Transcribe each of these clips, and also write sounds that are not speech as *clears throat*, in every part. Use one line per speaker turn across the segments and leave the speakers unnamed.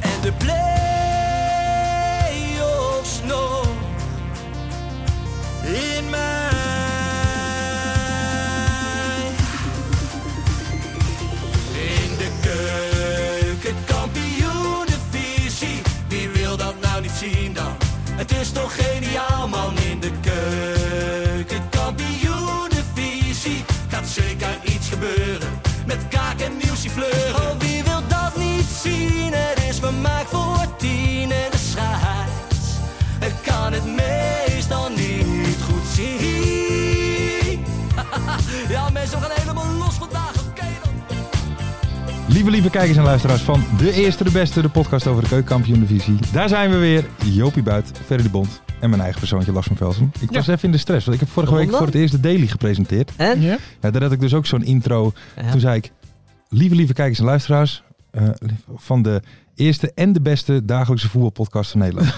En de play-offs nog.
In mij.
In de keuken, kampioenenvisie. Wie wil dat nou niet zien dan? Het is toch geniaal man in de keuken, kampioenenvisie. Gaat zeker iets gebeuren met kaak en nieuwsie fleuren. Oh, wie wil dat niet zien? Het is vermaakt voor tien en de scheids. Het kan het meestal niet goed zien. *laughs* ja mensen, we gaan helemaal los vandaag, oké dan.
Lieve, lieve kijkers en luisteraars van De Eerste de Beste, de podcast over de keukenkampioen-divisie. Daar zijn we weer. Joopie Buit, Ferry de Bond en mijn eigen persoontje Lars van Velsen. Ik was even in de stress, want ik heb vorige week
Waarom
voor
dan?
het eerst de Daily gepresenteerd.
En?
Ja.
Ja, daar had ik dus ook zo'n intro.
Ja.
Toen zei ik, lieve, lieve kijkers en luisteraars eh, van de eerste en de beste dagelijkse voetbalpodcast van Nederland.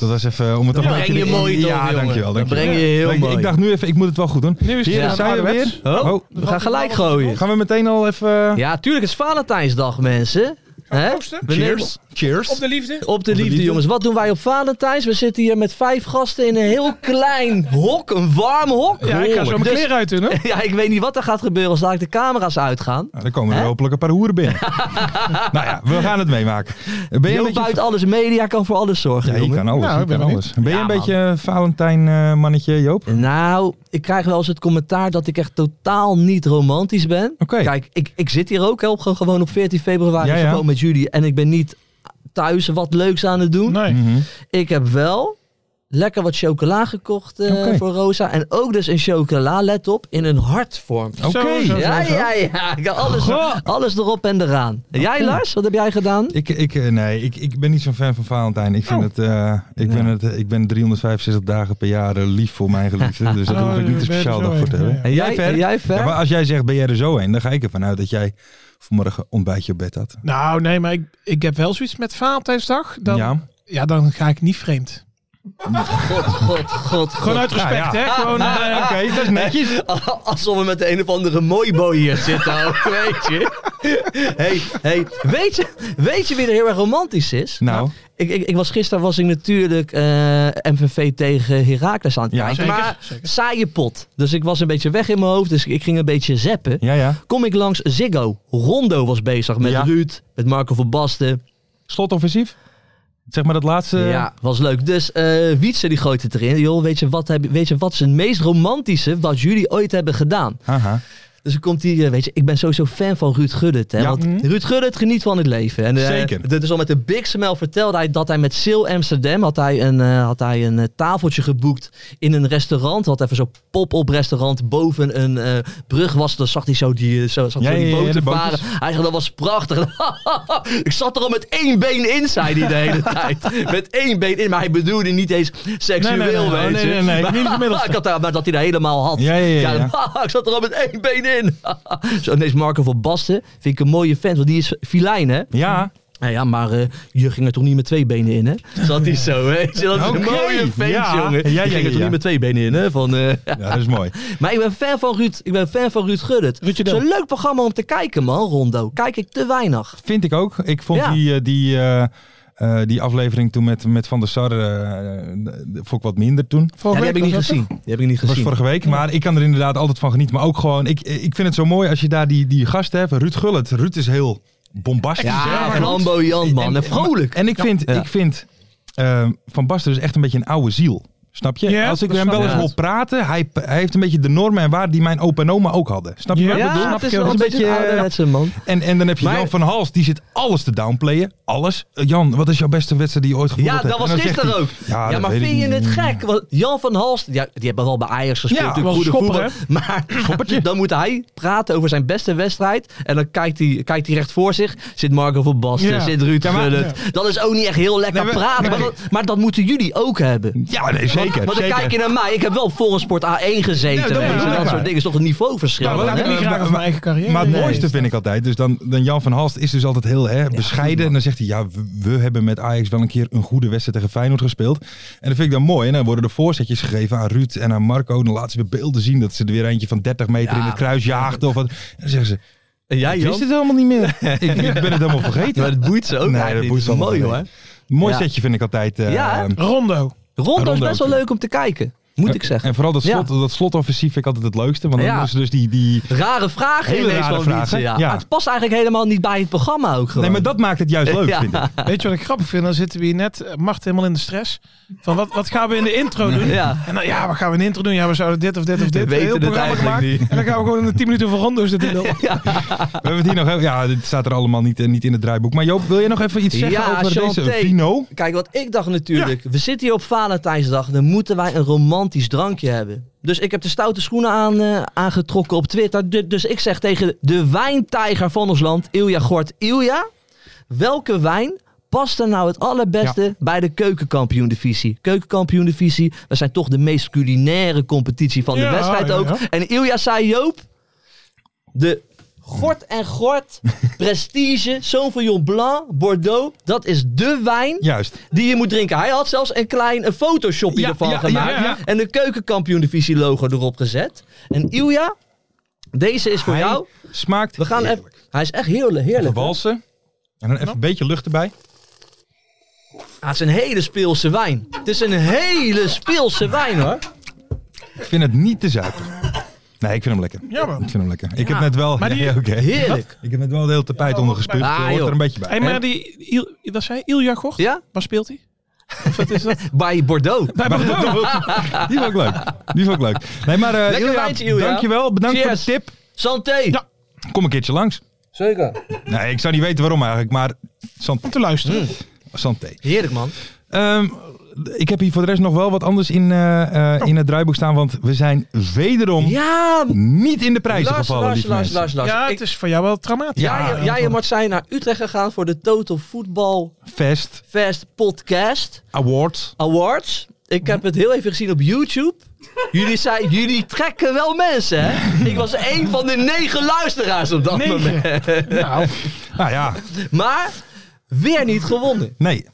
Dat was even om het toch
Dat
een
breng
beetje...
je mooi toch,
Ja,
jongen.
dankjewel.
Dat
dankjewel.
breng je heel
Dank
mooi.
Ik dacht nu even, ik moet het wel goed doen.
Nu is het
Hier
ja.
zijn we weer.
Oh,
Oh.
we gaan gelijk gooien.
Gaan we meteen al even...
Ja, tuurlijk, het is Valentijnsdag, mensen. Hè?
proosten?
We nemen-
Cheers.
Op de liefde.
Op de liefde,
liefde.
jongens. Wat doen wij op Valentijns? We zitten hier met vijf gasten in een heel klein hok, een warm hok.
Ja, ik ga zo mijn
Dus- *laughs*
kleren uit doen, hè?
Ja, ik weet niet wat er gaat gebeuren als daar de camera's uitgaan.
Nou, dan komen er hopelijk een paar hoeren
*laughs*
binnen. nou ja, we gaan het meemaken. Ben je
Jo
een beetje...
buiten alles media kan voor alles zorgen,
Ja, je
jongen.
kan alles.
Nou,
je
ik ben
kan
benieuwd.
alles. Ben je
Ja,
een
man.
beetje een Valentijn eh, mannetje, Joop? Oké.
Nou, ik krijg wel eens het commentaar dat ik echt totaal niet romantisch ben. Kijk, ik, ik zit hier ook hè, op, gewoon op 14 februari
Ja, ja.
gewoon met jullie. En ik ben niet thuis wat leuks aan het doen.
Nee. Hm?
Mhm.
Ik heb wel lekker wat chocola gekocht eh,
Oké.
voor Rosa. En ook dus een chocola, let op, in een hartvorm.
Oké.
Zo, zo, zo.
Ja, ja, ja. Ik heb Alles,
Goh.
alles erop en eraan. En Jij, Lars, wat heb jij gedaan?
Ik, ik, eh, nee, ik, ik ben niet zo'n fan van Valentijn. Ik, vind
Oh.
het, eh, ik, ben het, eh, ik ben 365 dagen per jaar eh, lief voor mijn geliefde. Dus daar
Oh,
hoef ik
je
niet een
bent
speciaal
zo
dag voor te
een,
hebben.
ja.
En jij,
Fer?
en jij ver?
Ja, maar als jij zegt, ben jij er zo heen? Dan ga ik ervan uit dat jij vanmorgen ontbijtje op bed had.
Nou, nee, maar ik, ik heb wel zoiets met Valentijnsdag. Dan, ja.
Ja.
dan ga ik niet vreemd.
God, god, god.
Gewoon uit
Ja, ja.
respect, hè? *laughs* Gewoon, eh,
Oké, dat is netjes.
*laughs* Alsof we met de een of andere mooiboy hier zitten
*laughs*
ook, weet je. Hey, hey. Weet, je weet je wie er heel erg romantisch is?
Nou,
Ik, ik, ik was gisteren was ik natuurlijk eh, MVV tegen Heracles aan het
Ja,
kijken.
zeker,
maar
zeker.
saaie pot. Dus ik was een beetje weg in mijn hoofd. Dus ik ging een beetje zeppen.
ja, ja.
Kom ik langs Ziggo. Rondo was bezig met
Ja.
Ruud, met Marco van Basten.
Slotoffensief? Zeg maar dat laatste.
Ja, was leuk. Dus eh Wietse die gooit het erin. Joh, weet je, wat heb, weet je wat is het meest romantische wat jullie ooit hebben gedaan?
Aha.
Dus dan komt hij, eh, weet je, ik ben sowieso fan van Ruud Gullit. Hè,
Ja.
Want Ruud Gullit geniet van het leven. En, eh,
Zeker.
d- Dus al met de Big Smell vertelde hij dat hij met Sil Amsterdam had hij een, eh, had hij een eh, tafeltje geboekt in een restaurant. Had even zo'n pop-up restaurant boven een eh, brug was. Dan zag hij zo die, eh, zo, zag
Ja,
zo
ja,
die
ja,
boten
de bootjes.
varen. Hij zei, dat was prachtig. *laughs* ik zat er al met één been in, zei hij de hele tijd. Met één been in, maar hij bedoelde niet eens seksueel,
Nee, nee, nee,
weet
nee,
je.
nee, nee,
maar,
niet gemiddeld.
*laughs* ik had daar, maar dat hij dat helemaal had.
Ja, ja, ja, ja.
*laughs* ik zat er al met één been in. *laughs* Zo, ineens Marco van Basten vind ik een mooie vent, want die is filijn, hè?
Ja.
Nou ja, maar eh, je ging er toch niet met twee benen in, hè? Zat hij zo, hè? Dat is een
Oké,
mooie vent,
ja.
jongen.
Ja,
Die
ja,
ging
ja,
er toch
ja.
niet met twee benen in, hè? Van, eh, *laughs*
ja, dat is mooi.
Maar ik ben fan van Ruud, ik ben fan van Ruud Gullit.
Ruudje
Zo'n
Del.
leuk programma om te kijken, man, Rondo. Kijk ik te weinig.
*laughs* Vind ik ook. Ik vond
Ja.
die, eh, die, eh, eh, die aflevering toen met, met Van der Sar, eh, eh, vond ik wat minder toen.
Ja,
vorige
die heb ik
week
niet
was dat
gezien. Die heb ik niet
Dat was
gezien.
vorige week, maar ik kan er inderdaad altijd van genieten. Maar ook gewoon, ik, ik vind het zo mooi als je daar die, die gast hebt, Ruud Gullit. Ruud is heel bombastisch. hè,
Ja,
maar-
en amboiant, man. En vrolijk.
En ik vind,
Ja.
ik vind eh, Van Basten dus echt een beetje een oude ziel. Snap je?
Ja,
Als ik
dat
hem
snap
wel eens
ik.
hoor praten, hij, hij heeft een beetje de normen en waarden die mijn opa en oma ook hadden. Snap je
Ja,
wat ik bedoel? eh,
Ja, het is wel
Dat
een beetje een ouderwetse man.
En, en dan heb je
Maar-
Jan van Hals, die zit alles te downplayen. alles. Eh, Jan, wat is jouw beste wedstrijd die je ooit
Ja,
gevoeld hebt?
dat was
En dan zegt
gisteren
hij,
ook. Ja,
dat
maar
weet ik
vind je
niet.
het gek? Want Jan van Halst, ja, die hebben wel bij Ajax gespeeld.
Ja,
natuurlijk
wel
goede
schopper,
voetbal.
*laughs*
Maar dan moet hij praten over zijn beste wedstrijd. En dan kijkt hij, kijkt hij recht voor zich. Zit Marco van Basten,
Ja.
zit Ruud
Ja, maar-
Gullit. Dat is ook niet echt heel lekker
Nee, maar-
praten.
nee.
Maar, dat, maar dat moeten jullie ook hebben.
Ja, nee, zeker.
Want dan
zeker.
kijk je naar mij. Ik heb wel op Volgens Sport A1 gezeten.
Ja, dat
weet je,
is
dat
ook waar.
soort dingen is toch een niveauverschil.
Ja, maar
dan,
laat
hè?
Ik niet graag over mijn eigen carrière.
Maar het
Nee.
mooiste vind ik altijd, dus dan, dan Jan van Halst is dus altijd heel hè, bescheiden. en dan zegt hij, ja, we, we hebben met Ajax wel een keer een goede wedstrijd tegen Feyenoord gespeeld. En dat vind ik dan mooi. En dan worden er voorzetjes gegeven aan Ruud en aan Marco. En dan laten ze weer beelden zien dat ze er weer eentje van 30 meter
Ja.
in het kruis jaagden. Of wat. En dan zeggen ze,
En jij,
ik wist
Jan?
het helemaal niet meer. ik, *laughs* ik ben het helemaal vergeten.
Maar het boeit ze ook
Nee, dat
eigenlijk
boeit ze
niet.
allemaal
Mooi hoor.
niet. Mooi
Ja.
setje vind ik altijd. eh,
Ja, hè?
Rondo.
Rondo is
Rondo
best wel
ook.
leuk om te kijken. Moet ik zeggen.
En vooral dat, slot,
Ja.
dat slotoffensief vind ik altijd het leukste. Want dan
Ja.
moesten ze dus die... die
Rare vragen
Hele
ineens
rare
van
vragen,
Wietse, ja.
ja.
Maar Het past eigenlijk helemaal niet bij het programma ook gewoon.
nee, maar dat maakt het juist leuk,
Ja.
vind ik.
Weet je wat ik grappig vind? Dan zitten we hier net, eh, Mart helemaal in de stress. Van wat, wat gaan we in de intro doen?
Ja.
En dan, ja, wat gaan we in de intro doen? Ja, we zouden dit of dit of dit. eh,
weten het eigenlijk niet.
En dan gaan we gewoon in de 10 minuten voor rondo's
*laughs*
zitten doen.
We hebben het hier nog. Ja, dit staat er allemaal niet, eh, niet in het draaiboek. Maar Joop, wil je nog even iets zeggen
Ja,
over
Chanté.
deze Vino?
Kijk, wat ik dacht natuurlijk. We zitten hier op Valentijnsdag. Dan moeten wij een romantisch drankje hebben. Dus ik heb de stoute schoenen aan, eh, aangetrokken op Twitter. Du- dus ik zeg tegen de wijntijger van ons land, Ilja Gort. Ilja, welke wijn past er nou het allerbeste bij de keukenkampioen-divisie? Keukenkampioen-divisie, dat zijn toch de meest culinaire competitie van de
Ja,
wedstrijd
ja,
ook.
ja.
En Ilja zei, Joop, de Gort en
*laughs*
Gort, Prestige, Sauvignon Blanc, Bordeaux, dat is de wijn
Juist.
die je moet drinken. Hij had zelfs een klein een photoshopje
Ja,
ervan
ja,
gemaakt.
ja, ja.
En de keukenkampioen-divisie logo erop gezet. En Ilja, deze is voor
Hij
jou.
Smaakt.
We gaan even, hij is echt heel heerlijk.
even
hè?
walsen. En dan even een beetje lucht erbij.
Ah, het is een hele speelse wijn. Het is een hele speelse wijn hoor.
Ik vind het niet te zuipen. Nee, ik vind hem lekker.
Ja, man.
Ik vind hem lekker. Ik heb net wel... *laughs*
maar die-
Ja, oké.
Heerlijk.
Ik heb net wel het hele tapijt ondergespuugd.
Ah,
Dat hoort
joh.
er een beetje bij.
Hey, maar die, Il, dat zei Ilja Gort?
Ja?
Waar speelt hij? Of wat is dat?
*laughs* Bij Bordeaux.
*laughs*
Bij Bordeaux.
Die vond ik leuk. Die vond ik leuk. Nee, maar eh
Lekker
Ilja,
wijntje, Ilja.
dankjewel. Bedankt
Cheers.
voor de tip.
Santé.
Ja.
Kom een keertje langs.
Zeker.
Nee, ik zou niet weten waarom eigenlijk, maar... Sant-
Om te luisteren.
Santé.
Heerlijk man.
Ehm, ik heb hier voor de rest nog wel wat anders in, eh, eh,
Oh.
in het draaiboek staan, want we zijn wederom
Ja.
niet in de prijzen
Lars,
gevallen,
Lars,
lieve
Lars,
mensen.
Lars, Lars.
Ja,
Ik-
het is voor jou wel traumatisch.
Ja,
jij, jij en Mart zijn naar Utrecht gegaan voor de Total Football
Fest,
Fest Podcast.
awards.
Awards. Ik heb het heel even gezien op YouTube. Jullie, zei, jullie trekken wel mensen, hè? Ik was één van de negen luisteraars op dat moment.
Nou,
Nou ja,
Maar weer niet gewonnen.
nee.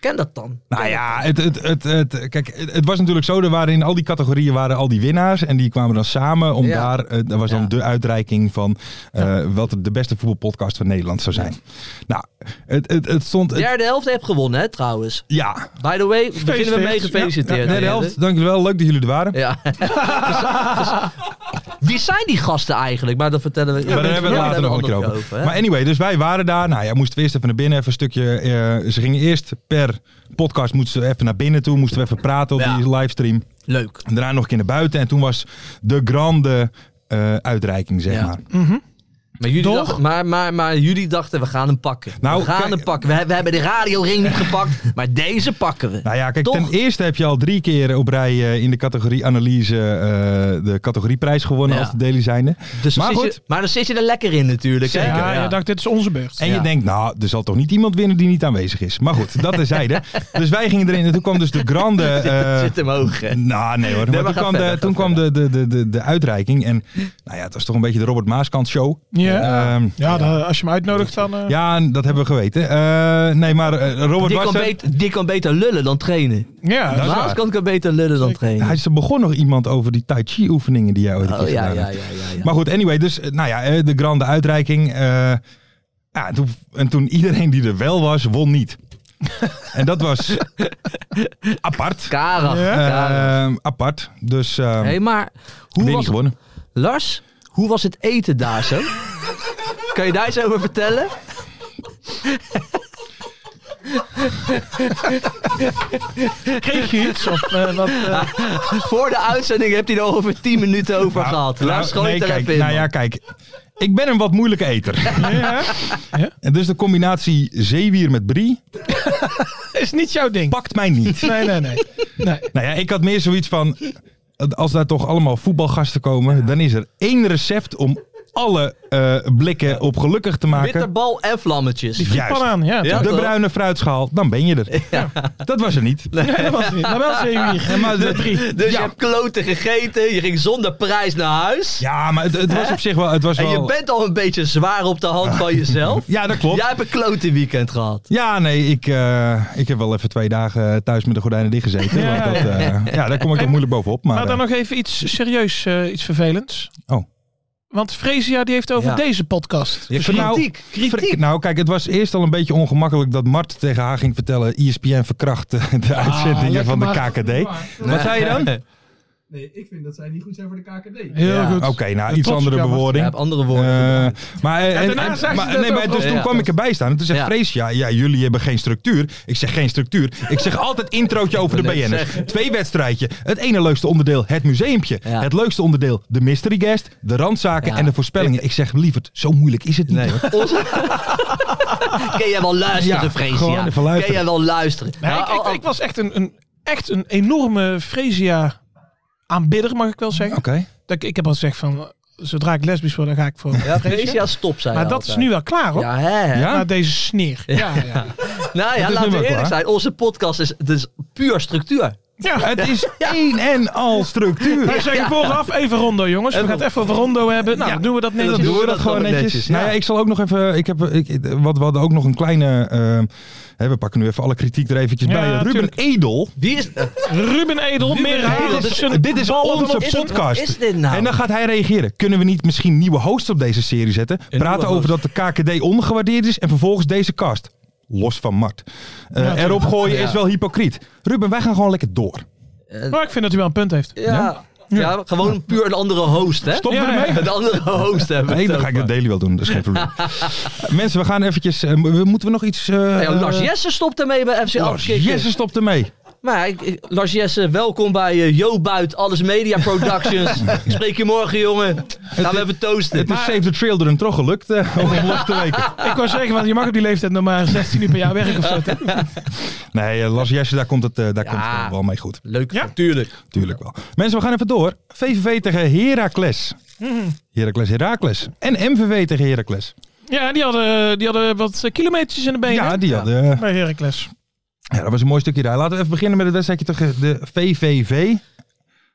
Ken dat dan?
Nou ja, het, het, het, het, kijk, het, het was natuurlijk zo, er waren in al die categorieën waren al die winnaars. En die kwamen dan samen om
Ja.
daar, eh, daar was dan
Ja.
de uitreiking van eh, wat de beste voetbalpodcast van Nederland zou zijn. Nou, het, het, het stond... het-
Derde helft heeft gewonnen, hè, trouwens.
ja,
By the way, beginnen we mee
feest.
gefeliciteerd.
derde helft, dankjewel, leuk dat jullie er waren.
Ja.
*laughs*
Wie zijn die gasten eigenlijk? Maar dat vertellen we. Ja,
maar daar hebben we het later nog een keer over.
hè?
maar anyway, dus wij waren daar. Nou ja, moesten we eerst even naar binnen. Even een stukje. eh, ze gingen eerst per podcast moesten ze even naar binnen toe. Moesten we even praten op
Ja.
die livestream.
Leuk.
En daarna nog een keer naar buiten. En toen was de grande eh, uitreiking, zeg
Ja.
maar.
Maar jullie,
Toch?
dachten, maar, maar, maar jullie dachten, we gaan hem pakken.
Nou,
we gaan
kijk-
hem pakken. We, we hebben de radioring niet
*laughs*
gepakt, maar deze pakken we.
Nou ja, kijk,
Toch?
ten eerste heb je al drie keer op rij eh, in de categorie analyse eh, de categorieprijs gewonnen
Ja.
als de daily zijnde.
Dus dan
maar
zit
goed.
Je, maar dan zit je er lekker in natuurlijk. Hè?
Zeker,
ja, je dacht, dit is onze beurt.
En
Ja.
je denkt, nou, er zal toch niet iemand winnen die niet aanwezig is. Maar goed, dat terzijde.
*laughs*
dus wij gingen erin en toen kwam dus de grande... eh,
zit hem hoog. hè.
Nou, nee hoor.
maar
maar
ga
toen kwam,
verder,
de,
ga
toen kwam de, de, de, de, de uitreiking. En nou ja, het was toch een beetje de Robert Maaskant show.
Ja,
Ehm,
ja dan- als je me uitnodigt, dan... eh,
ja, en dat hebben we geweten. Eh, nee, maar eh, Robert
Die, kan
was er.
beter, die kan beter lullen dan trainen.
ja,
Dat is waar.
Maas kan, kan beter lullen dan trainen.
Hij is er begon nog iemand over die Tai Chi oefeningen die jij ooit een
oh
keer
ja,
gedaan
ja, ja.
hebt.
ja, ja.
Maar goed, anyway. Dus eh, nou ja, eh, de grande uitreiking. eh, ja, en, toen, en toen iedereen die er wel was,
*laughs*
won niet. en dat was apart.
Karag.
Ja.
Karag.
Eh, apart. Dus eh
Hé, maar hoe
weer niet
was,
gewonnen.
Lars, hoe was het eten daar
*laughs*
zo? kan je daar iets over vertellen?
kreeg je iets? Of eh, wat... eh,
Voor de uitzending heb je er over 10 minuten over
Nou,
gehad.
nou,
Lars, gooi
nee,
het er
kijk,
even in.
Nou
man.
ja, kijk. Ik ben een wat moeilijke
*laughs*
eter. En dus de combinatie zeewier met brie
Is niet jouw ding.
pakt mij niet.
Nee, nee, nee. nee.
Nou ja, ik had meer zoiets van, als daar toch allemaal voetbalgasten komen, dan is er één recept om alle eh, blikken op gelukkig te maken.
Bitterbal en vlammetjes.
Die frietpan
Juist.
aan. Ja,
Ja.
toch?
De bruine fruitschaal, dan ben je er. Dat was er niet.
Nee, dat was het niet. Maar wel zeewier.
Ja, maar,
Met drie.
Dus
Ja.
je hebt kloten gegeten, je ging zonder prijs naar huis.
ja, maar het, het was op zich wel... Het was
En
wel
je bent al een beetje zwaar op de hand van jezelf.
Ja, dat klopt.
Jij
*laughs* Ja,
hebt een klote weekend gehad.
nee, ik, eh, ik heb wel even twee dagen eh, thuis met de gordijnen dichtgezeten.
Ja.
Ja, dat, eh, ja daar kom ik
En-
dan moeilijk bovenop. Maar,
Maar dan
eh,
nog even iets serieus, eh, iets vervelends.
Oh.
Want Fresia die heeft over
Ja.
deze podcast.
Je
Van nou-
kritiek,
Frik-
kritiek.
nou, kijk, het was eerst al een beetje ongemakkelijk dat Mart tegen haar ging vertellen... E ESPN verkracht eh, de
Ah,
uitzendingen van de KKD. Wat zei je
*laughs*
dan?
Nee, ik vind dat zij niet goed zijn voor de KKD.
Heel
Ja.
goed.
Oké, nou, iets
trots
andere
kan, Mart.
Je
bewoording.
hebt andere woorden.
Eh, maar, eh, en-
daarna
en-
zei ze
maar-
dat
nee, maar
ook.
dus
Ja,
toen
ja.
kwam ik erbij staan. En toen zegt
Ja.
Frees, ja, ja, jullie hebben geen structuur. Ik zeg geen structuur. Ik zeg altijd introotje over de
Ik wou net
BN'ers. Twee wedstrijdje. Het ene leukste onderdeel, het museumpje.
Ja.
Het leukste onderdeel, de mystery guest, de randzaken
Ja.
en de voorspellingen. Ik zeg, lieverd, zo moeilijk is het *laughs* niet. hoor.
*laughs* Kun jij wel luisteren,
Ja, gewoon
Freesia?
even luisteren.
Kun jij wel luisteren?
Nee,
Nou,
ik, ik,
al-
ik was echt een, een, echt een enorme Fresia aanbidder, mag ik wel zeggen.
Oké.
Dat Ik, ik heb al gezegd van, zodra ik lesbisch word, dan ga ik voor
Ja,
Fresia.
Freesia, stop zijn.
Maar dat is nu wel klaar, hoor.
Ja, hè?
Ja?
Na deze sneer. Ja, ja.
Nou
is
ja, laten
nu wel
we eerlijk
klaar.
zijn. Onze podcast is, het is puur structuur.
ja.
Het is één en al structuur.
Wij zeggen vooraf even rondo, jongens. We gaan het even over rondo hebben. Nou, dan doen we dat
En
netjes.
dan
Doen we dat
dan
gewoon netjes?
netjes,
Nou ja,
ja.
ik zal ook nog even. Ik heb, ik, ik- wat, we hadden ook nog een kleine. ehm, hè, we pakken nu even alle kritiek er eventjes
Ja,
bij. Ruben
tuurlijk.
Edel. eh,
Wie is...
Ruben Edel, meer
Edel,
halen.
dit
zijn
Dit is
ballen dan
onze
op-
is-
podcast.
wat is dit nou?
En dan gaat hij reageren. Kunnen we niet misschien nieuwe hosts op deze serie zetten? Praten
nieuwe
over dat de KKD ongewaardeerd is en vervolgens deze cast. Los van Mart. Eh,
tuurlijk.
erop gooien
Ja.
is wel hypocriet. Ruben, wij gaan gewoon lekker door.
Maar ik vind dat hij wel een punt heeft.
Ja. Ja, gewoon puur een andere host, hè?
Stop
Ja,
ermee.
Een andere host hebben. we
Nee,
het
dan ga ik
over.
dat daily wel doen. Dat is geen probleem. Eh, Mensen, we gaan eventjes... eh, mo- moeten we nog iets... eh
Nou ja, Lars
eh,
Jesse stopt ermee bij FC
Lars
Afkikken.
Jesse stopt ermee.
Maar ja, ik- ik- Lars Jesse, welkom bij eh, Jo Buit, Alles Media
*laughs*
Productions. Ik Spreek je morgen, jongen. Gaan we even toasten.
Het is Save the Trail er een trog gelukt eh, om los te
*laughs*
weken.
Ik wou zeggen, want je mag op die leeftijd nog maar 16 uur per jaar werken of zo. toch?
Nee, eh, Lars Jesse, daar komt het, eh, daar
Ja.
komt het wel mee goed.
Leuk,
Ja.
natuurlijk.
Tuurlijk wel. Mensen, we gaan even door. VVV tegen Heracles.
Mhm.
Heracles, Heracles. En MVV tegen Heracles.
Ja, die hadden, die hadden wat kilometers in de benen.
Ja, die hadden... eh,
Bij Heracles.
Ja, dat was een mooi stukje daar. Laten we even beginnen met het wedstrijdje tegen de VVV.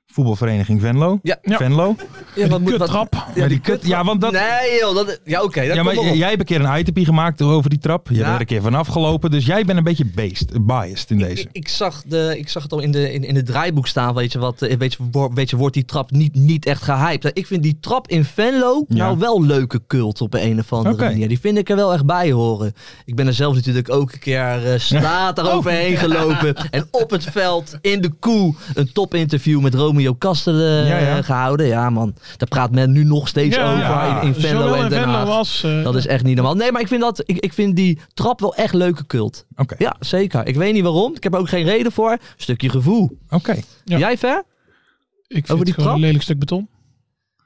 Voetbalvereniging Venlo.
Ja.
Ja.
Venlo.
Ja, wat moet- wat-
Kuttrap.
Maar die kut, ja, want dat...
Nee, joh. Dat, ja, oké. dat
Ja, maar
komt wel op.
jij hebt een keer een itempie gemaakt over die trap. Je bent
Ja.
er een keer vanaf gelopen. Dus jij bent een beetje based, biased in deze.
Ik, ik zag de, ik zag het al in, de, in, in het draaiboek staan. Weet je, wat, eh, weet, je, wo- weet je, wordt die trap niet, niet echt gehyped? Ik vind die trap in Venlo
Ja.
nou wel leuke cult op een of andere
Oké.
manier. Die vind ik er wel echt bij horen. Ik ben er zelf natuurlijk ook een keer eh straat
*laughs*
daaroverheen gelopen. En op het veld, in de koe, een topinterview met Romeo Kaster eh,
Ja, ja.
gehouden. Ja man, daar praat men nu nog steeds over
ja.
in, in Venlo
Zowel
en
in
Den
Venlo
Haag.
als... eh,
Dat is echt niet normaal. Nee, maar ik vind, dat, ik, ik vind die trap wel echt leuke cult.
Oké,
Ja, zeker. Ik weet niet waarom. Ik heb er ook geen reden voor. Stukje gevoel.
oké.
Ja.
Jij ver?
ik vind
over die
het gewoon
trap?
een lelijk stuk beton.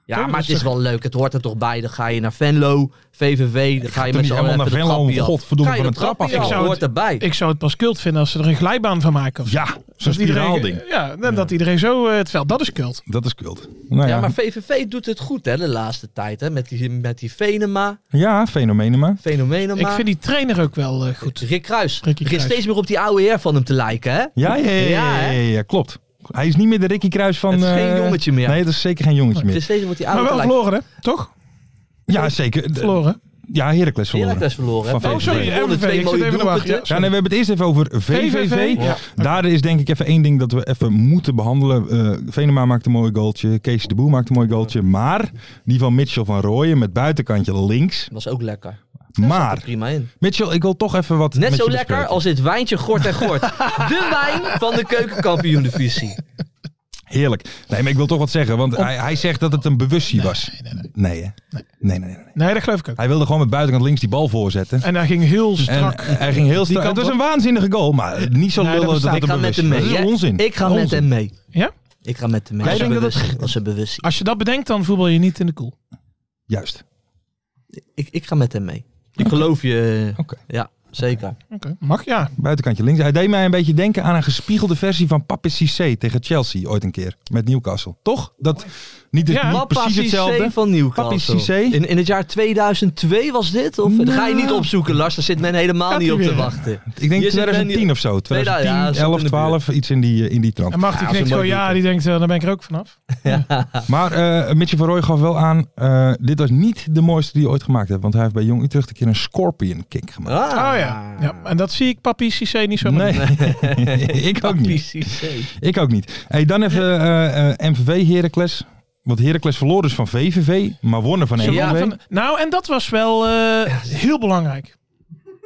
Ja, maar het is wel leuk. Het hoort er toch bij. Dan ga je naar Venlo, VVV. Dan ga je
Toen
met
niet
z'n allen
helemaal naar
even de
Venlo om
trappie af.
godverdomme
Ga je
van een
de
trap af.
trappie
Ik
af.
zou
hoort
het-
erbij.
Ik zou het pas kult vinden als ze er een glijbaan van maken. Of zo.
Ja, zo'n
Dat iedereen-
spiraalding.
Ja, dat dat iedereen zo eh, het veld. Dat is kult.
Dat is kult. Nou ja,
Ja, maar VVV doet het goed hè, de laatste tijd. Hè, met, die, met die Venema,
ja fenomenen maar.
Fenomenema.
Ik vind die trainer ook wel eh, goed.
Rick Kruis.
Ricky
Begint
Kruis.
steeds meer op die oude heer van hem te lijken. Hè?
Ja, ja, ja,
Ja,
ja, ja,
hè?
ja, ja, klopt. Hij is niet meer de Ricky Kruis van...
Het is geen
eh,
jongetje meer.
Nee, het is zeker geen jongetje
Het
meer.
is steeds meer op die
Maar
oude
wel
te lijken.
verloren, hè? Toch?
Ja, zeker. De-
Verloren.
Ja, Heracles verloren.
Heracles verloren.
Van
hè.
Oh, sorry,
Gewonnen,
MVV.
Twee
Ik zit
mooie
even te wachten,
doelpunten.
ja.
Ja, nee, we hebben het eerst even over VVV.
VVV, ja.
Daar is denk ik even één ding dat we even moeten behandelen. Eh Venema maakt een mooi goaltje. Kees de Boer maakt een mooi goaltje. Maar die van Mitchell van Rooyen met buitenkantje links.
Was ook lekker.
Maar,
Prima in.
Mitchell, ik wil toch even wat
Net
met
zo
je
lekker
bespreken.
als dit wijntje Gort en Gort. De wijn van de
*laughs*
keukenkampioen-divisie.
Heerlijk. Nee, maar ik wil toch wat zeggen. Want hij, hij zegt dat het een bewustzijn was. Nee, nee, nee. Nee, nee, nee, nee.
Nee, dat geloof ik ook.
Hij wilde gewoon met buitenkant links die bal voorzetten.
En daar ging heel
En
strak.
hij ging heel strak.
kant
Het was
op.
een waanzinnige goal, maar niet zo
Nee, dat
lullig dat
bestaat.
het
Ik
een
ga met
bewustzijn
hem
was.
mee.
Dat is
hè?
onzin.
Ik ga met
Onzin.
hem mee.
Ja?
Ik ga met hem mee.
Jij
Als een
denkt dat
bewustzijn. Als een bewustzijn.
Als je dat bedenkt, dan voetbal je niet in de koel.
Juist.
Ik, ik ga met hem mee. Ik geloof je. eh,
Oké.
Ja, zeker.
Oké. Mag ja.
Buitenkantje links. Hij deed mij een beetje denken aan een gespiegelde versie van Papi Cissé tegen Chelsea ooit een keer. Met Newcastle. Toch? Dat niet, dus
Ja.
niet
Papa
precies
Cissé
hetzelfde.
van
Papi
Newcastle.
Cissé.
In, in het jaar 2002 was dit? Of dat ga je
Nou.
niet opzoeken, Lars? Daar zit men helemaal
Gaat
niet
hij
op te
weer.
wachten.
Ik denk
Je zit
2010
bij-
of zo. 2010,
ja, zit in de
11,
buurt.
12. Iets in die, eh, in die trant.
En Mark die
Ja, dat is
knikt
een
zo,
mooi
ja, die denkt, eh, dan ben ik er ook vanaf.
Maar eh Mitchell van Rooij gaf wel aan, eh, dit was niet de mooiste die hij ooit gemaakt heeft. Want hij heeft bij Jong Utrecht een keer een scorpion kick gemaakt.
Ah,
Oh ja. ja. En dat zie ik papi Cissé niet
Oh,
zo
nee, *laughs*
Ah,
ik ook niet. Ik ook niet. Hey, dan even eh, eh, MVV Heracles. Want Heracles verloor dus van VVV, maar wonnen van MVV.
Ze
Ja,
laten- nou, en dat was wel eh, heel belangrijk.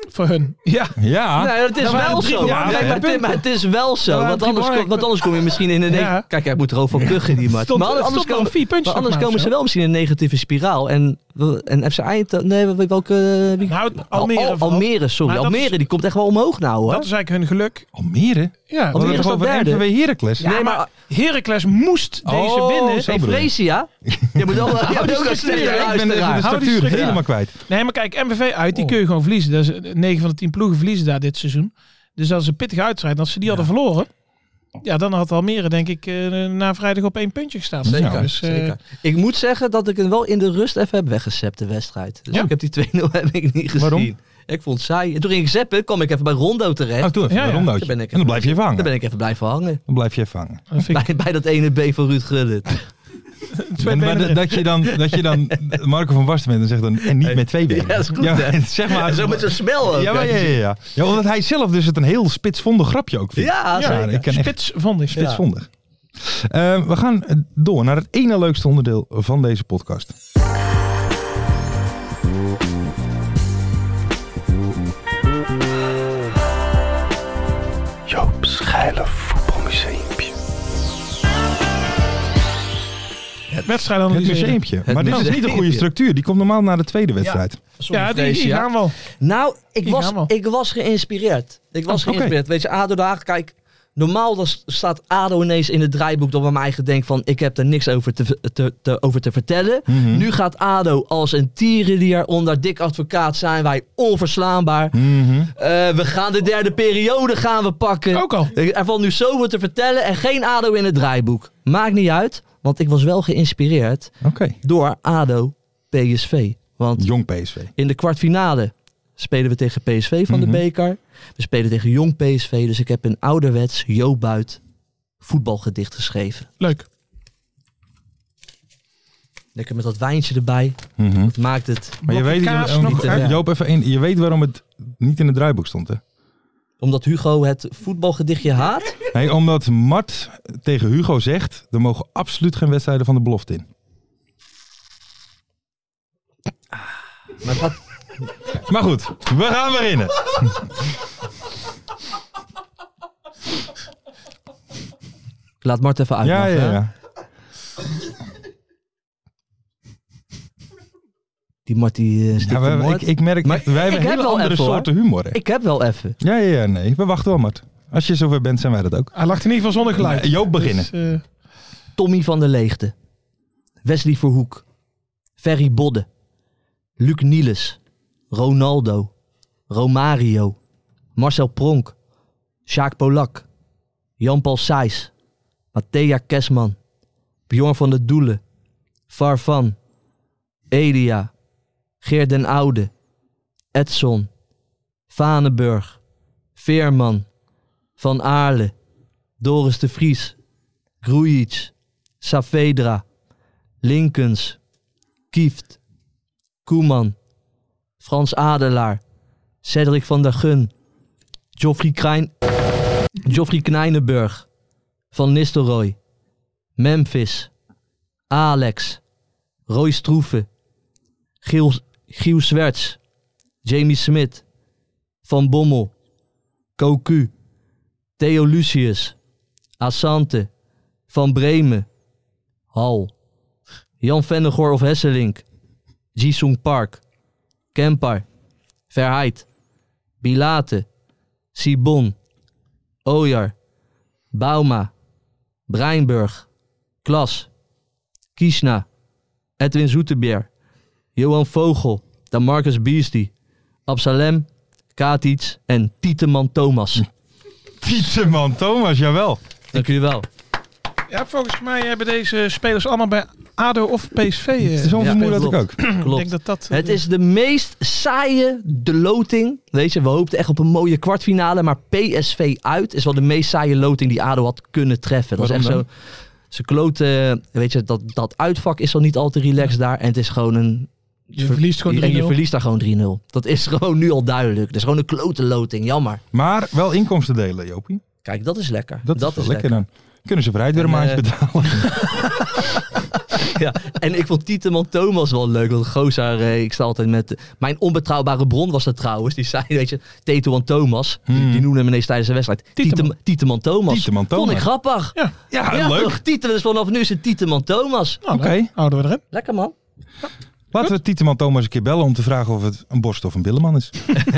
Voor hun. Ja.
Nee, het is
Dat waren
wel
drie
zo.
belangrijke
Kijk, maar Tim,
punten.
maar het is wel zo.
Dat waren
Want anders,
drie
kom,
belangrijke
want anders kom je misschien in een...
Ja.
neg- Kijk, hij moet er ook van kuchen, die match.
Stond,
Maar anders,
stond
komen,
nog vier puntjes
maar anders
nog maar
komen ze
of
wel misschien in een negatieve spiraal. En, we- en FC Eindhoven... Nee, we- welke... eh,
zo.
wie-
Nou, Almere.
Al- Almere, sorry.
Maar dat is-
Almere, die komt echt wel omhoog nou, hoor.
Dat is eigenlijk hun geluk.
Almere?
Ja,
We
Almere
hadden
is
het
dat
over
derde?
MVV Heracles.
nee,
maar-
maar Heracles moest deze
Oh,
winnen.
zo
Hey,
bedoel je.
Fresia. Je
*laughs*
moet wel... Je moet ook een
structuur,
slechte
Ik
hè?
ben even de
luisteraar.
Hou die
structuur
structuur.
helemaal kwijt.
Nee, maar kijk, MVV uit, die
Oh.
kun je gewoon verliezen. Dat is, 9 van de 10 ploegen verliezen daar dit seizoen. Dus dat is een pittige uitstrijd. Als ze die hadden verloren, ja, dan had Almere denk ik eh, na vrijdag op één puntje gestaan.
Zeker,
Nou, dus, eh,
Zeker. Ik moet zeggen dat ik hem wel in de rust even heb weggezept, de wedstrijd. Dus
Ja.
ik heb die 2-0 *laughs* heb ik niet gezien.
Waarom?
Ik vond het saai. En toen ging ik zeppen, kwam ik even bij Rondo terecht.
Oh, toen even
Ja,
een
ja.
rondootje.
Daar ben ik
En dan blijf je even hangen.
Daar ben ik even blijven hangen.
Dan blijf je even hangen.
dat
*laughs*
vind ik
Bij, bij dat ene B van Ruud Gullit.
twee
En
benen
maar dat-
erin.
dat, je dan, dat je
*laughs*
dan Marco van Basten bent en zegt dan, en niet met twee benen.
Ja, dat is goed, hè?
*laughs* zeg maar.
En *laughs* zo met zo'n smel ook.
Ah, ja, maar
hè.
ja, ja, ja. ja, omdat hij zelf dus het een heel spitsvondig grapje ook vindt.
Ja,
Ja,
zeker.
ik ken echt
Spits vond ik.
spitsvondig. Eh, we gaan door naar het ene leukste onderdeel van deze podcast.
Wedstrijd
Het
analyseren.
museumpje.
Het
maar dit is niet een goede
museumpje.
structuur. Die komt normaal na de tweede wedstrijd.
Sorry,
Ja, die, die
Fresia.
gaan wel.
Nou, ik
Die
was,
gaan we.
ik was geïnspireerd. Ik was
Ah, oké.
geïnspireerd. Weet je, ADO Den Haag, kijk, normaal dan s- staat ADO ineens in het draaiboek dat bij mij gedenk van ik heb er niks over te, v- te, te- over te vertellen.
Mhm.
Nu gaat ADO als een tierenlier onder dik advocaat zijn wij onverslaanbaar.
Mhm.
Eh, we gaan de derde periode gaan we pakken.
Ook al.
Er valt nu zoveel te vertellen en geen ADO in het draaiboek. Maakt niet uit, want ik was wel geïnspireerd
Oké.
door ADO PSV. Want
Jong PSV.
in de kwartfinale spelen we tegen PSV van
Mhm.
de beker. We spelen tegen jong PSV. Dus ik heb een ouderwets Jo Buit voetbalgedicht geschreven.
Leuk.
Lekker met dat wijntje erbij.
Mhm.
Dat maakt het.
Maar je weet,
Blokje kaas nog,
hè?
eh, Joop, even één. je weet waarom het niet in het draaiboek stond, hè?
Omdat Hugo het voetbalgedichtje haat.
Nee, omdat Mart tegen Hugo zegt, er mogen absoluut geen wedstrijden van de belofte in.
Maar wat,
Maar goed, we gaan beginnen.
ik laat Mart even uit.
Ja,
mag,
ja,
hè?
ja.
Die Mart die eh
ja
stikt
we-
de moord.
ik, ik merk,
Maar
echt, wij hebben
ik heb
hele
wel
andere
even, hoor.
soorten humor. Hè?
Ik heb wel even.
Ja, ja, ja, nee. We wachten wel, Mart. Als je zover bent, zijn wij dat ook.
Hij lacht in ieder geval zonder geluid.
Nee, Joop beginnen.
Dus, eh,
Tommy van der Leegte. Wesley Verhoek. Ferry Bodde. Luc Nielis. Ronaldo. Romario. Marcel Pronk. Sjaak Polak. Jan-Paul Sijs. Matthea Kesman. Bjorn van der Doelen. Farfan. Elia. Geert den Oude. Edson. Vanenburg. Veerman. Van Aarle. Doris de Vries. Grujic, Saavedra, Linkens, Kieft, Koeman, Frans Adelaar, Cedric van der Gun, Geoffrey, Krijn, Geoffrey Knijnenburg, Van Nistelrooy, Memphis, Alex, Roy Stroeven, Giel, Giel Zwerts, Jamie Smit, Van Bommel, Koku, Theo Lucius, Assante, van Bremen. Hal. Jan Vennegoor of Hesselink. Jisung Park. Kempar. Verheid. Bilate. Sibon. Ojar. Bauma. Breinburg. Klas. Kiesna. Edwin Zoetebeer. Johan Vogel. Marcus Beastie, Absalem, Katic en Tieteman Thomas.
Hm. Tieteman Thomas, jawel.
Dank jullie wel.
Ja, volgens mij hebben deze spelers allemaal bij ADO of PSV. eh,
Het is zo'n
ja,
vermoeden dat ik ook.
klopt.
ik
Klopt.
denk dat eh, dat...
Het is de meest saaie de loting. Weet je, we hoopten echt op een mooie kwartfinale. Maar PSV uit is wel de meest saaie loting die ADO had kunnen treffen. Dat is echt
Waarom
zo. Ze kloten, weet je, dat, dat uitvak is al niet al te relaxed daar. En het is gewoon een...
Je verliest gewoon
En je
3-0.
verliest daar gewoon 3-0. Dat is *laughs* gewoon nu al duidelijk. Dat is gewoon een klote loting, jammer.
Maar wel inkomsten delen, Jopie.
Kijk, dat is lekker.
Dat, is, wel lekker dan. Kunnen ze vooruit weer een
En,
maandje
eh, *laughs*
betalen.
Ja, en ik vond Tieteman Thomas wel leuk. Want Gozaar, eh, ik sta altijd met... Mijn onbetrouwbare bron was dat trouwens. Die zei, weet je, Tieteman Thomas. Die,
Hmm.
die noemde hem ineens tijdens de wedstrijd. Tieteman,
Tieteman.
Tieteman Thomas.
Tieteman Thomas.
Vond ik grappig.
Ja.
Ja, leuk.
toch? Tieteman, dus vanaf nu is het Tieteman Thomas.
Nou,
Oké.
dan houden we erin.
Lekker man.
Laten we Tieteman Thomas een keer bellen om te vragen of het een borst of een billeman
*laughs*
is.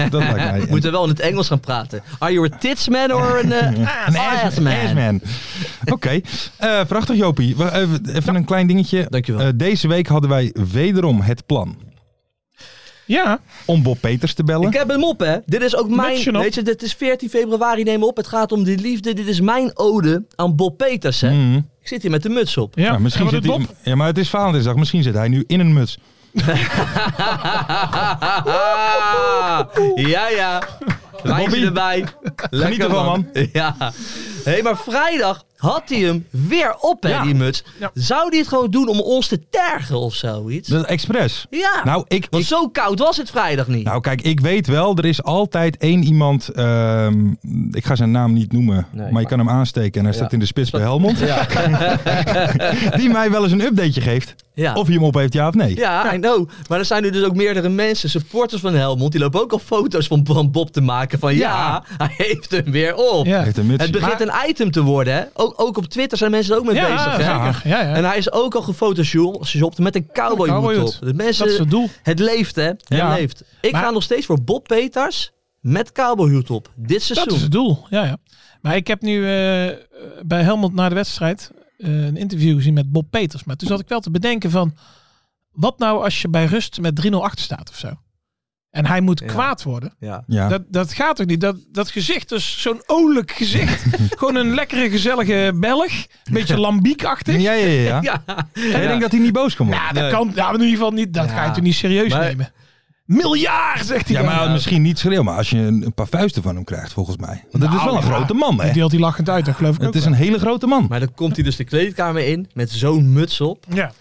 dat lijkt mij.
We moeten wel in het Engels gaan praten. Are you a tits man or an
*laughs*
eh, ass, man?
Assman. Oké, Eh, prachtig Jopie. We- Even, even een klein dingetje.
Dankjewel.
Eh, deze week hadden wij wederom het plan
Ja,
om Bob Peters te bellen.
Ik heb hem op, hè. Dit is ook mijn...
je nog?
Weet je, dit is 14 februari, neem op. Het gaat om die liefde. Dit is mijn ode aan Bob Peters, hè.
Mm.
Ik zit hier met de muts op.
ja.
Ja, Nou, misschien
En wat
zit
doet
hij,
Bob?
ja, maar het is Valentijnsdag. Misschien zit hij nu in een muts.
Ah, ja, ja. Wijntje
Bobby,
erbij. Lekker,
ervan, man.
Ja. Hé, hey, maar vrijdag had hij hem weer op, hè,
Ja.
die muts.
Ja.
Zou hij het gewoon doen om ons te tergen of zoiets?
Dat is expres.
Ja.
Nou, ik,
Want
ik-
zo koud was het vrijdag niet.
nou, kijk, ik weet wel, er is altijd één iemand. ehm, ik ga zijn naam niet noemen, maar je kan hem aansteken en hij staat in de spits bij Helmond. *laughs* die mij wel eens een updateje geeft.
ja.
Of hij hem op heeft, ja of nee.
Ah. Ja, I know. Maar er zijn nu dus ook meerdere mensen, supporters van Helmond, die lopen ook al foto's van, van Bob te maken van ja, hij heeft hem weer op.
Ja.
Heeft een muts.
Het begint een item te worden, hè? Ook, ook op Twitter zijn mensen er ook mee
Ja,
bezig. Hè?
zeker. Ja, ja.
En hij is ook al gefotoshopt met een cowboyhoed
cowboyhoed.
op. De
dat is
mensen,
het doel.
het leeft, hè? Het
Ja.
leeft. Ik
Maar-
ga nog steeds voor Bob Peters met cowboyhoed op. Dit seizoen.
Dat is het doel, ja, ja. Maar ik heb nu eh, bij Helmond na de wedstrijd eh, een interview gezien met Bob Peters. Maar toen zat ik wel te bedenken van, wat nou als je bij rust met 3-0 achter staat of zo? En hij moet kwaad worden.
Ja.
Ja.
Dat, dat gaat toch niet? Dat, dat gezicht is zo'n olijk gezicht. Gewoon een lekkere, gezellige Belg. Een beetje lambiekachtig.
ja, ja, ja. ja.
Ja.
Ik denk dat hij niet boos kan worden.
Ja, dat
Nee.
kan ja, in ieder geval niet. Dat
Ja.
ga je toch niet serieus
Maar-
nemen. Miljard, zegt hij.
Ja,
dan.
maar
Nou,
misschien niet schreeuwen, maar als je een, een paar vuisten van hem krijgt, volgens mij. Want het is
Nou,
wel een
ja.
grote man,
Die
hè?
deelt hij lachend uit, dat geloof ik ook
Het is
wel.
een hele grote man.
Maar dan komt hij dus de kleedkamer in met zo'n muts op.
Ja.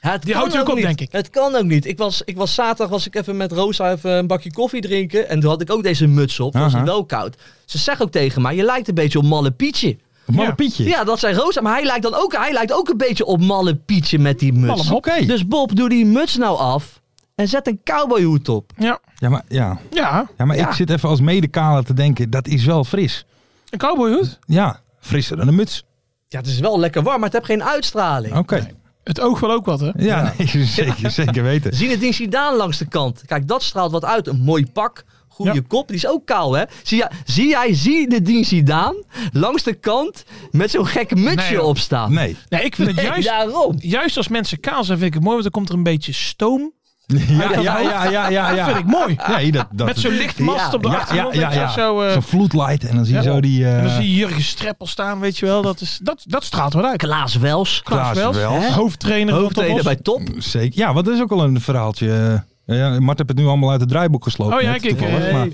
Ja, het
Die
kan
houdt u ook op,
niet.
denk ik.
Het kan ook niet. Ik was, ik was zaterdag was ik even met Rosa even een bakje koffie drinken. En toen had ik ook deze muts op. Toen was
Aha.
het wel koud. Ze zegt ook tegen mij, je lijkt een beetje op Malle Pietje.
Een malle
Ja.
Pietje.
Ja, dat zei Rosa. Maar hij lijkt dan ook, hij lijkt ook een beetje op Malle Pietje met die muts.
Oké.
Dus Bob, doe die muts nou af. En zet een cowboyhoed op.
Ja.
Ja, maar, ja.
ja,
ja, maar
Ja.
ik zit even als medekaler te denken, dat is wel fris.
een cowboyhoed.
Ja, frisser dan een muts.
Ja, het is wel lekker warm, maar het heeft geen uitstraling.
Oké.
Het oog wel ook wat, hè?
Ja, *laughs* nee, zeker, zeker weten.
Zien het ding Zidane langs de kant. Kijk, dat straalt wat uit. Een mooi pak. Goede
Ja.
kop. Die is ook kaal, hè? Zie, jij- zie jij, zie de dien Zidane langs de kant met zo'n gek mutsje
joh.
op staan?
Nee.
Nee, ik vind het
Nee,
juist,
daarom.
juist als mensen kaal zijn, vind ik het mooi. Want dan komt er een beetje stoom.
Ja, ja, ja, ja, ja.
Dat vind
ja.
ik mooi.
Nee, dat, dat,
Met zo'n lichtmast
Ja,
op de
ja, ja,
achtergrond.
ja,
weet je,
ja.
Zo, eh,
Zo'n floodlight en dan zie je
ja.
zo die... eh,
en dan zie je Jurgen Streppel staan, weet je wel. Dat, is, dat, dat straalt wel uit.
Klaas Wels.
Klaas Wels.
hè? hoofdtrainer van
Hoofdtrainer
Top
bij
Os.
Top.
Zeker. Ja, wat is ook al een verhaaltje. eh. Ja, Mart heeft het nu allemaal uit het draaiboek gesloten.
Oh ja,
net,
kijk.
toevallig,
eh,
maar-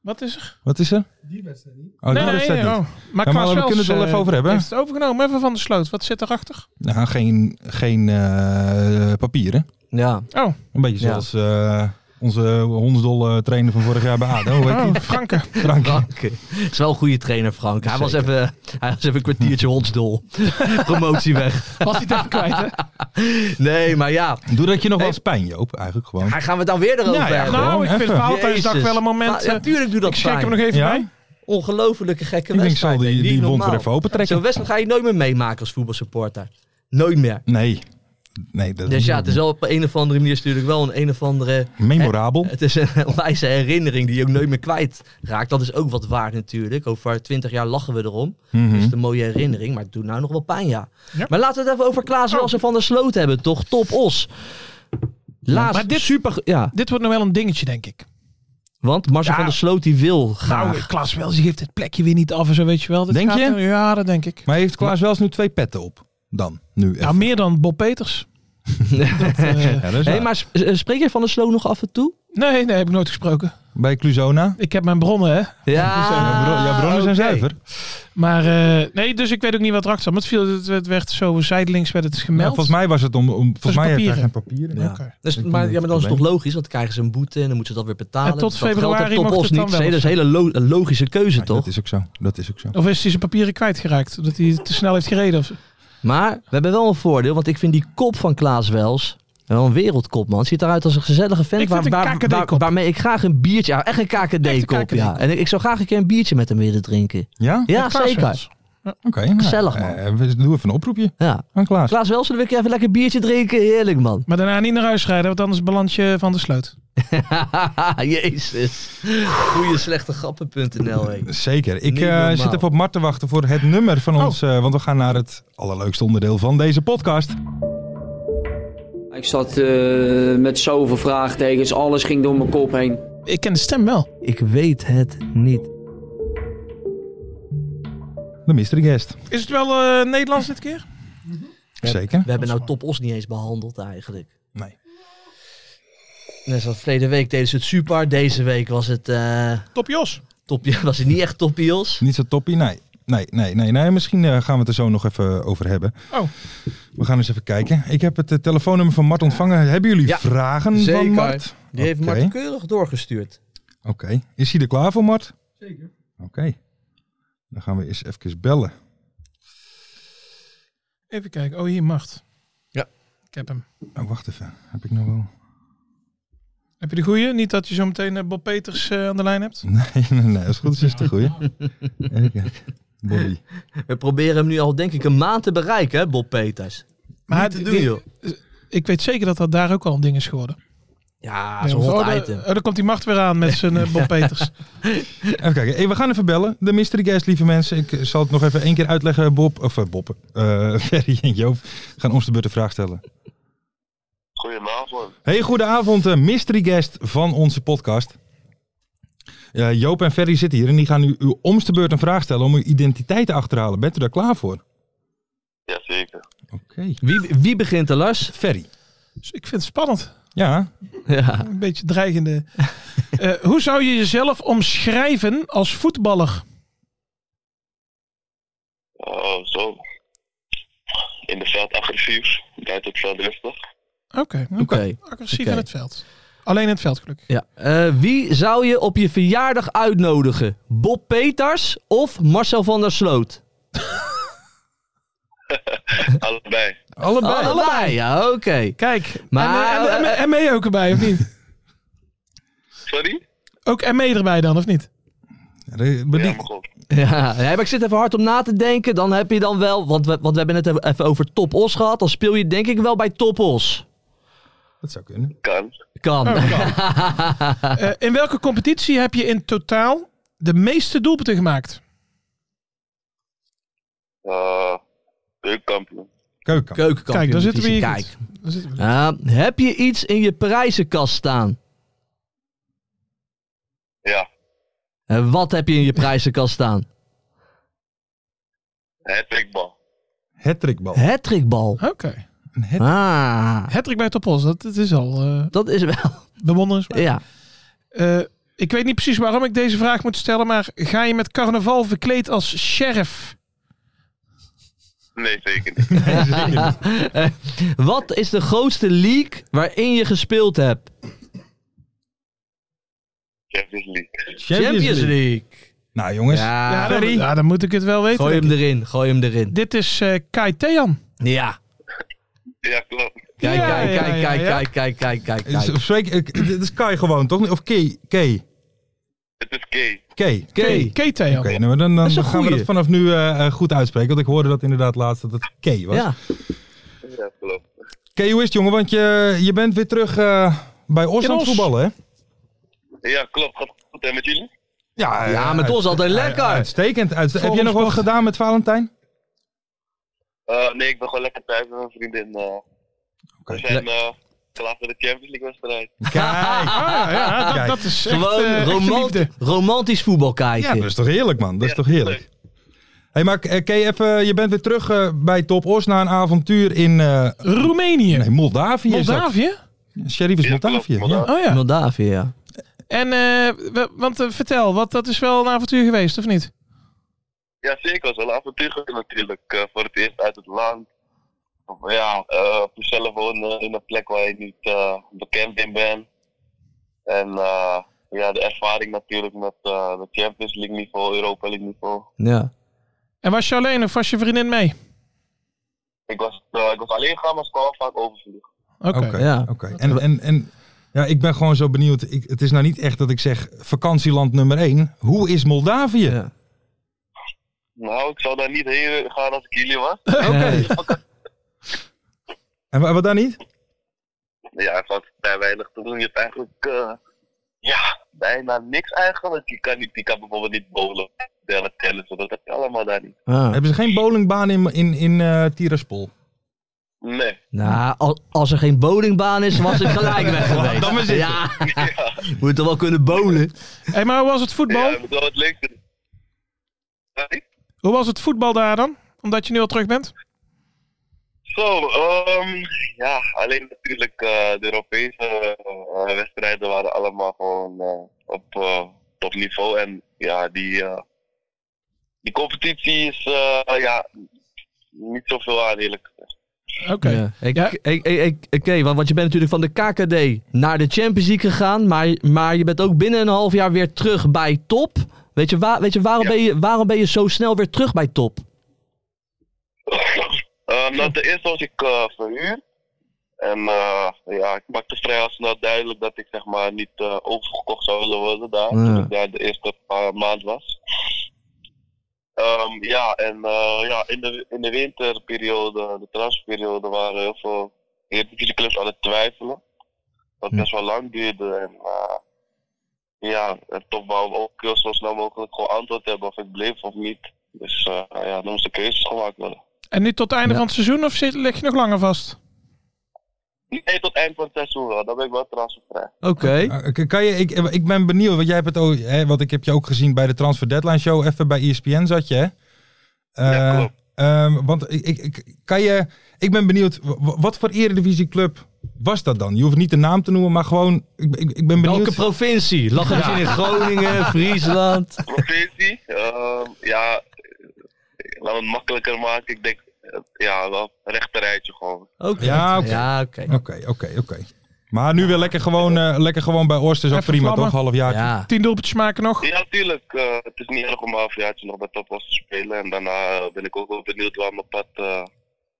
wat is er?
wat is er?
Die wedstrijd niet.
Oh, die wedstrijd niet.
oh. Maar,
we
Klaas
kunnen
Wels,
het wel
eh,
even over hebben.
Heeft het overgenomen, even van de sloot. Wat zit erachter?
Nou, geen, geen eh, papieren.
Ja.
Oh,
Een beetje
Ja.
zoals eh, onze hondsdolle trainer van vorig jaar bij ADO. Weet
oh
*laughs*
Franke.
Frank.
Frank. *laughs* is wel een goede trainer, Frank. Hij was, even, hij was even een kwartiertje *laughs* hondsdol. Promotie weg.
Was hij het even kwijt, hè?
Nee, maar ja.
Doe dat je nog wel eens pijn, Joop. Eigenlijk gewoon.
Hij gaan we het dan weer erover
Ja, ja,
hebben.
Gewoon
Nou, ik vind
even.
Valentijnsdag
Jezus.
wel een moment... eh,
Natuurlijk doe dat
ik check hem
pijn.
nog even
Ja?
bij.
Ongelofelijke gekke
ik denk, ik zal
wedstrijd.
die,
hè.
die,
Niet
wond weer
normaal.
even opentrekken.
Zo'n wedstrijd ga je nooit meer meemaken als voetbalsupporter. Nooit meer.
Nee. Nee, dat
Dus
is
ja, het is wel op een of andere manier is het natuurlijk wel een een of andere...
memorabel.
Het is een *laughs* onwijze herinnering die je ook nooit meer kwijtraakt. Dat is ook wat waard natuurlijk. Over twintig jaar lachen we erom.
Mhm.
Dat is een mooie herinnering, maar het doet nou nog wel pijn, ja.
Ja. Oh.
Maar laten we het even over Klaas Wels en Van der Sloot hebben, toch? Top Os. Laatst,
Maar dit-
super... Ja,
Dit wordt nog wel een dingetje, denk ik.
want Marcel
Ja.
van der Sloot die wil graag.
Nou, Klaas Wels die geeft het plekje weer niet af en zo, weet je wel. Dat
Denk
gaat
je?
er- Ja, dat denk ik.
Maar heeft Klaas wel eens nu twee petten op? Dan, nu even.
Nou, meer dan Bob
*laughs*
Peters. Dat, eh,
Ja, dat is
Hé,
waar.
maar s- eh, spreek jij van der Sloot nog af en toe?
nee, nee, heb ik nooit gesproken.
Bij Cluzona?
Ik heb mijn bronnen, hè.
Ja, Oh. bro- ja, bronnen zijn
Ah, oké.
zuiver.
Maar eh, nee, dus ik weet ook niet wat erachter zat. Maar het, viel, het, het werd zo zijdelings werd het dus
Ja,
gemeld.
volgens mij was het om... om volgens mij heeft hij
papieren.
geen papieren.
Ja.
Oké.
Dus,
Ik
maar,
denk
ja, maar dan is het
dat
toch
het
logisch, want dan krijgen ze een boete en dan moeten ze dat weer betalen.
En tot
Dus dat geldt
februari mocht
Top Os
het dan
niet.
wel
Dat is
of
een hele lo- een logische keuze,
Ja,
toch?
Dat is ook zo. Dat is ook zo.
Of is hij zijn papieren kwijtgeraakt? Omdat hij te snel heeft gereden? Of... zo?
Maar we hebben wel een voordeel, want ik vind die kop van Klaas Wels wel een wereldkop, man. Ziet eruit als een gezellige vent
Ik vind een KKD-kop.
waarmee ik graag een biertje... Ja, echt een KKD-kop,
KKD-kop.
ja. En ik, ik zou graag een keer een biertje met hem willen drinken.
Ja?
Ja,
Klaas
zeker.
Wels.
Oké. nou,
Gezellig, man.
eh, we doen even een oproepje
Ja.
aan Klaas.
Klaas Wels, zullen we een keer even lekker biertje drinken? Heerlijk, man.
Maar daarna niet naar huis rijden, want anders beland je van de sloot.
*laughs* Jezus. Goeie slechte grappen.nl, hé.
Zeker. Ik
Niet
eh,
normaal. Oh.
zit even op Mart te wachten voor het nummer van ons. eh, want we gaan naar het allerleukste onderdeel van deze podcast.
Ik zat eh, met zoveel vraagtekens, alles ging door mijn kop heen.
Ik ken de stem wel.
Ik weet het niet.
De mystery guest.
Is het wel eh, Nederlands dit keer?
Zeker.
We hebben nou Top Os niet eens behandeld eigenlijk.
Nee.
Net zoals verleden week deden ze het super. Deze week was het, eh
Top Jos.
top, *laughs* was het niet echt toppios.
Niet zo toppie, nee. Nee, nee, nee, nee. Misschien eh, gaan we het er zo nog even over hebben.
Oh.
We gaan eens even kijken. Ik heb het eh, telefoonnummer van Mart ontvangen. Hebben jullie
Ja,
vragen
zeker.
van Mart?
Die heeft
Oké.
Marten keurig doorgestuurd.
Oké. Is hij er klaar voor, Mart?
Zeker.
Oké. Dan gaan we eens even bellen.
Even kijken. Oh, hier, Macht.
Ja.
Ik heb hem.
Oh, wacht even. Heb ik nog wel... *laughs*
Heb je de goeie? Niet dat je zo meteen eh, Bob Peters eh, aan de lijn hebt?
Nee, nee, nee. Als het goed is, is het de goeie. Even kijken. Bobby.
We proberen hem nu al denk ik een maand te bereiken, hè, Bob Peters.
Maar
Niet te doen,
die-
joh.
ik weet zeker dat dat daar ook al een ding is geworden.
Ja,
Nee,
zo'n
want-
hot
oh, daar-
item.
oh, daar komt die macht weer aan met
*laughs*
zijn eh, Bob Peters.
Even kijken. Hey, we gaan even bellen. De mystery guest, lieve mensen. Ik eh, zal het nog even één keer uitleggen. Bob, of eh, Bob, eh, *laughs* Ferry en Joop gaan ons de beurt een vraag stellen.
Goedenavond.
Hey, goedenavond, eh, mystery guest van onze podcast. Eh, Joop en Ferry zitten hier en die gaan nu uw omste beurt een vraag stellen om uw identiteit te achterhalen. Bent u daar klaar voor?
Jazeker.
Oké.
Wie, wie begint de *laughs* Lars?
Ferry.
Dus ik vind het spannend.
Ja,
Ja.
Een beetje dreigende. Eh, hoe zou je jezelf omschrijven als voetballer?
Oh, zo. In de veld agressief, buiten het veld rustig.
Oké,
Oké.
agressief
Oké.
in het veld. Alleen in het veld, gelukkig.
Ja. Eh, wie zou je op je verjaardag uitnodigen? Bob Peters of Marcel van der Sloot?
Allebei.
allebei.
Allebei, ja, oké.
Kijk, E-
Maar-
maar, en, en, en- en ME E ook erbij, of niet?
Sorry?
Ook ME erbij dan, of niet?
Re- bedik-
Ja, maar goed.
Ja, nee, maar ik zit even hard om na te denken. Dan heb je dan wel, want we, want we hebben het even over Top Os gehad. Dan speel je denk ik wel bij Top Os.
Dat zou kunnen.
Kan.
Kan. *laughs*
Eh, in welke competitie heb je in totaal de meeste doelpunten gemaakt?
Eh Beukkampioen.
Keuken.
Keukenkampioen.
Kijk, daar zitten we hier
Kijk.
goed. Daar zitten we.
Eh, heb je iets in je prijzenkast staan?
Ja.
En wat heb je in je prijzenkast staan?
Het prikbal.
Hattrickbal.
Hattrickbal.
Oké.
Een hat-
Ah,
Hattrick bij Topos, dat, dat is al eh
dat is wel. *laughs*
bewonderenswaardig.
Ja.
Eh, ik weet niet precies waarom ik deze vraag moet stellen, maar ga je met carnaval verkleed als sheriff?
Nee, zeker niet.
Wat is de grootste league waarin je gespeeld hebt?
Champions League.
Champions League.
Nou jongens,
Ja,
ja, dan, ja, dan moet ik het wel weten.
Ah, gooi
denk
hem
ik.
erin, gooi hem erin.
Dit is eh Kai Thean.
Ja.
Ja, klopt.
Kijk,
Ja,
kijk,
ja,
kijk,
ja,
kijk,
ja.
kijk, kijk, kijk, kijk,
is-
kijk.
spreek, Eh, ik- dit is Kai gewoon, toch? Of Kay? Kay.
Het is gay.
Kay.
Oké.
Kai Thean.
Oké, nou, dan, dan
is een
gaan we
goeie.
dat vanaf nu eh, eh, goed uitspreken. Want ik hoorde dat inderdaad laatst dat het Kay was.
Ja.
Ja, klopt.
Kay, hoe is het jongen? Want je, je bent weer terug eh, bij Os
In
aan het
Os.
voetballen, hè?
Ja, klopt. Gaat het goed hè, met jullie?
Ja,
Ja, met
uit-
ons altijd
uit-
lekker.
Uitstekend. Uit- heb
Volgens
je nog wat
Bart.
gedaan met Valentijn?
Eh, nee, ik ben gewoon lekker thuis met mijn vriendin. eh.
Oké.
We zijn eh, Klaar voor de Champions League wedstrijd.
Kijk.
Ah, ja, dat,
Kijk,
dat is echt,
Gewoon
eh, echte
romant-
liefde.
romantisch voetbal
Ja,
kijken.
dat is toch heerlijk, man? Dat is toch heerlijk? hey, maar eh, Kay, even, je bent weer terug eh, bij Top Os na een avontuur in eh,
Roemenië.
nee, Moldavië. is dat.
Moldavië?
Sheriff is
Ja, klopt,
Moldavië. Ja.
Moldavië.
Oh ja.
Moldavië, ja.
En, eh, we- want eh, vertel, wat, dat is wel een avontuur geweest, of niet?
Ja, zeker. Het is wel een avontuur geweest natuurlijk. eh, voor het eerst uit het land. Maar ja, eh voor zelf wonen in een plek waar je niet eh, bekend in bent. En eh, ja, de ervaring natuurlijk met eh de Champions League niveau, Europa League niveau.
ja.
En was je alleen of was je vriendin mee?
Ik was, eh, ik was alleen gaan, maar ze kwamen vaak overvliegen.
Oké.
Oké,
Ja.
oké. En, en, en ja, ik ben gewoon zo benieuwd. Ik, het is nou niet echt dat ik zeg vakantieland nummer 1. Hoe is Moldavië?
Ja.
Nou, ik zou daar niet heen gaan als ik jullie was.
Nee.
En wa- wat daar niet?
Ja, ik had vrij weinig te doen. Je hebt eigenlijk eh, ja, bijna niks eigenlijk. Je kan, niet, je kan bijvoorbeeld niet bowlen, bellen, tennissen. Dat heb je allemaal daar niet.
Ah.
Hebben ze geen bowlingbaan in, in, in eh, Tiraspol?
Nee.
Nou, al- als er geen bowlingbaan is, was ik gelijk weg geweest.
Dan maar zitten.
Ja, *laughs* moet toch wel kunnen bowlen.
Hey, maar hoe was het voetbal?
Ja, ik moet wel wat leuks doen. Sorry?
Hoe was het voetbal daar dan? Omdat je nu al terug bent?
Zo, ehm, ja, alleen natuurlijk eh, de Europese eh, wedstrijden waren allemaal gewoon eh, op eh, topniveau. En ja, die, eh, die competitie is eh, ja, niet zoveel aan eerlijk gezegd.
Oké.
Ja. Ik-
Ja.
ik- ik- ik- Oké, want want je bent natuurlijk van de KKD naar de Champions League gegaan, maar, maar je bent ook binnen een half jaar weer terug bij top. Weet je, waar, weet je, waarom,
Ja.
ben je waarom ben je zo snel weer terug bij top?
Ehm, nou, ten eerste was ik eh, verhuurd. En eh, ja, ik maakte vrij al snel duidelijk dat ik zeg maar niet eh, overgekocht zou willen worden daar.
Ja.
Toen ik daar de eerste paar maand was. Ehm, ja, en eh, ja, in, de, in de winterperiode, de transferperiode, waren heel veel Eredivisie clubs aan het twijfelen. Wat
Hm.
best wel lang duurde. En eh, ja, en toch wou ik ook heel zo snel mogelijk gewoon antwoord hebben of ik bleef of niet. Dus eh, ja, dan moesten keuzes gemaakt worden.
En nu tot het einde
Ja.
van het seizoen of zit, lig je nog langer vast?
Nee, tot eind van het seizoen wel. Dan ben ik wel transfervrij.
Oké.
Eh, k- Kan je, ik, ik ben benieuwd, want jij hebt het ook, hè, want ik heb je ook gezien bij de Transfer Deadline Show, even bij E ESPN zat je, hè?
Ja,
Eh,
klopt.
ehm, want ik, ik, ik, kan je, ik ben benieuwd, w- w- wat voor eredivisieclub was dat dan? Je hoeft niet de naam te noemen, maar gewoon, ik, ik, ik ben benieuwd.
Welke provincie? Lag het in *laughs* Groningen, Friesland?
Provincie, *laughs* ehm, ja, eh, laat het makkelijker maken. Ik denk, eh, ja, wel een rechterrijtje gewoon.
Oké.
Ja, oké.
Ja, oké.
Oké, oké, oké. Maar nu weer lekker gewoon, eh, lekker gewoon bij Oost is ook
Even
prima,
vlammen.
toch? Half jaar.
Ja.
Tien doelpuntjes maken nog?
Ja, natuurlijk. eh, het is niet erg om een halfjaartje nog bij Topos te spelen. En daarna eh, ben ik ook wel benieuwd waar mijn pad eh,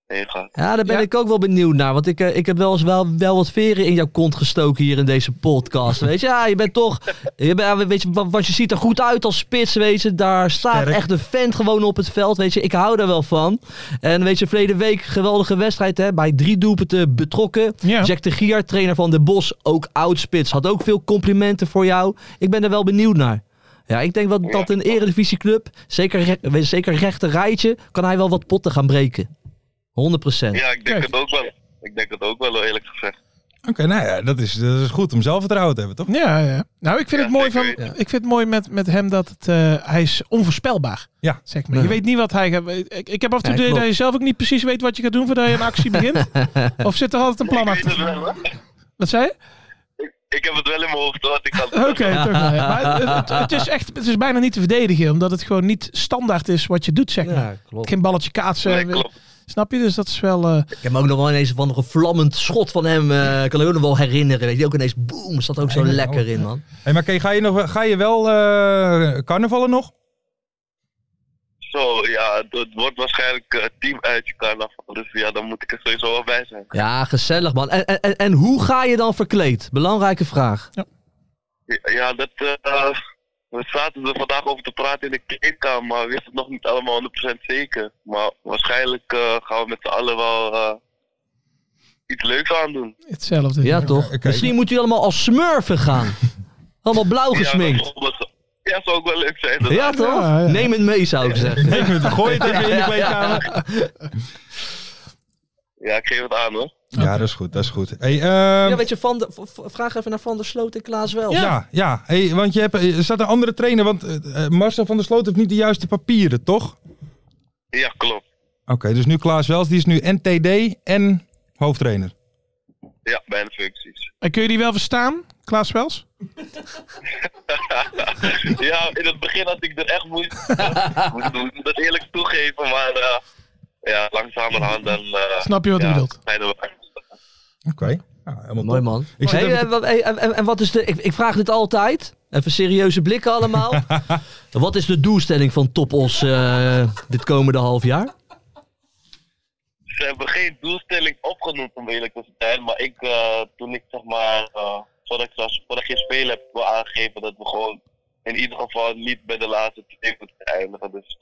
heen gaat.
Ja, daar ben
Ja.
ik ook wel benieuwd naar. Want ik, eh, ik heb wel eens wel, wel wat veren in jouw kont gestoken hier in deze podcast. Weet je, ja, je bent toch. Je bent, ja, weet je, wa- want je ziet er goed uit als spits. Weet je, daar staat
Sterk.
echt een vent gewoon op het veld. Weet je, ik hou daar wel van. En weet je, verleden week geweldige wedstrijd hè, bij drie doelpunten betrokken.
Ja.
Jack de Gier, trainer van de Bos, ook oud spits. Had ook veel complimenten voor jou. Ik ben er wel benieuwd naar. Ja, ik denk wel dat een eredivisieclub, zeker, re- zeker rechter rijtje, kan hij wel wat potten gaan breken. 100
Ja, ik denk
Kijk.
het ook wel. Ik denk het ook wel, hoor, eerlijk gezegd.
Oké, nou ja, dat is, dat is goed om zelfvertrouwen te hebben, toch?
Ja, ja. Nou, ik vind
Ja,
het mooi, van,
zeker
ik vind het mooi met, met hem dat het, eh, hij is onvoorspelbaar.
Ja.
Zeg maar.
Ja.
Je weet niet wat hij gaat... Ik, ik heb af
Ja,
en toe het idee
klopt.
dat je zelf ook niet precies weet wat je gaat doen voordat je een actie
*laughs*
begint. of zit er altijd een plan
Ik weet het
achter?
wel, hè.
Wat zei je?
Ik heb het wel in mijn hoofd, hoor. Ik
*laughs* Oké,
had...
toch wel. ja. Maar het- het, het is echt, het is bijna niet te verdedigen, omdat het gewoon niet standaard is wat je doet, zeg maar.
klopt.
Geen balletje
Nee,
kaatsen.
klopt.
snap je? Dus dat is wel... eh,
Ik heb me ook nog wel ineens van nog een vlammend schot van hem. eh kan ik ook nog wel herinneren. Weet je, ook ineens boem. Zat ook zo
Ja,
lekker
oh.
in, man.
Hey, maar Kay, ga je, nog, wel- ga je wel eh carnavallen
*laughs*
nog?
Zo, ja, het, het wordt waarschijnlijk eh, team uit je carnaval. Dus ja, dan moet ik er sowieso wel bij zijn.
Ja, gezellig, man. En, en, en- en hoe ga je dan verkleed? Belangrijke vraag.
Ja, dat. eh, we zaten er vandaag over te praten in de kleedkamer, maar we wisten het nog niet allemaal 100% zeker. Maar waarschijnlijk eh, gaan we met z'n allen wel eh, iets leuks aan doen.
Hetzelfde.
Ja, toch?
oké.
Misschien moet u allemaal als smurfen gaan. allemaal blauw
Ja,
gesminkt.
bijvoorbeeld- ja, zou ook wel leuk zijn.
Ja,
inderdaad.
toch?
Ja, ja.
Neem het mee, zou ik zeggen.
Gooi het even in de kleedkamer.
Ja, ik geef het aan hoor.
Ja, dat is goed, dat is goed. Hey, ehm,
Ja,
ja,
weet je, van de, v- v- vraag even naar Van der Sloot en Klaas wel.
ja, Hey, want je hebt, eh, er staat een andere trainer, want eh, eh, Marcel van der Sloot heeft niet de juiste papieren, toch? Oké,
Ja, klopt.
dus nu Klaas Wels, die is nu NTD en hoofdtrainer.
Ja, bij de
*laughs*
functies.
En kun je die wel verstaan, Klaas Wels?
ja, in het begin had ik er echt
*laughs*
moeite mee. Ik moet dat eerlijk toegeven, maar eh, ja, langzamerhand dan... eh,
Snap je wat ik
ja,
bedoelt?
zijn we er.
Oké. Ja, helemaal
Mooi
top.
man.
Ik zit
Hey,
even
eh, wa- hey, en, en- en wat is de. Ik, ik vraag dit altijd. Even serieuze blikken *laughs* allemaal. wat is de doelstelling van Topos eh, dit komende half jaar?
Ze hebben geen doelstelling opgenoemd om eerlijk te zijn, maar ik, eh, toen ik zeg maar, eh voordat, ik, zelfs- voordat ik geen spelen heb, wil aangegeven dat we gewoon in ieder geval niet bij de laatste twee moeten eindigen. Dus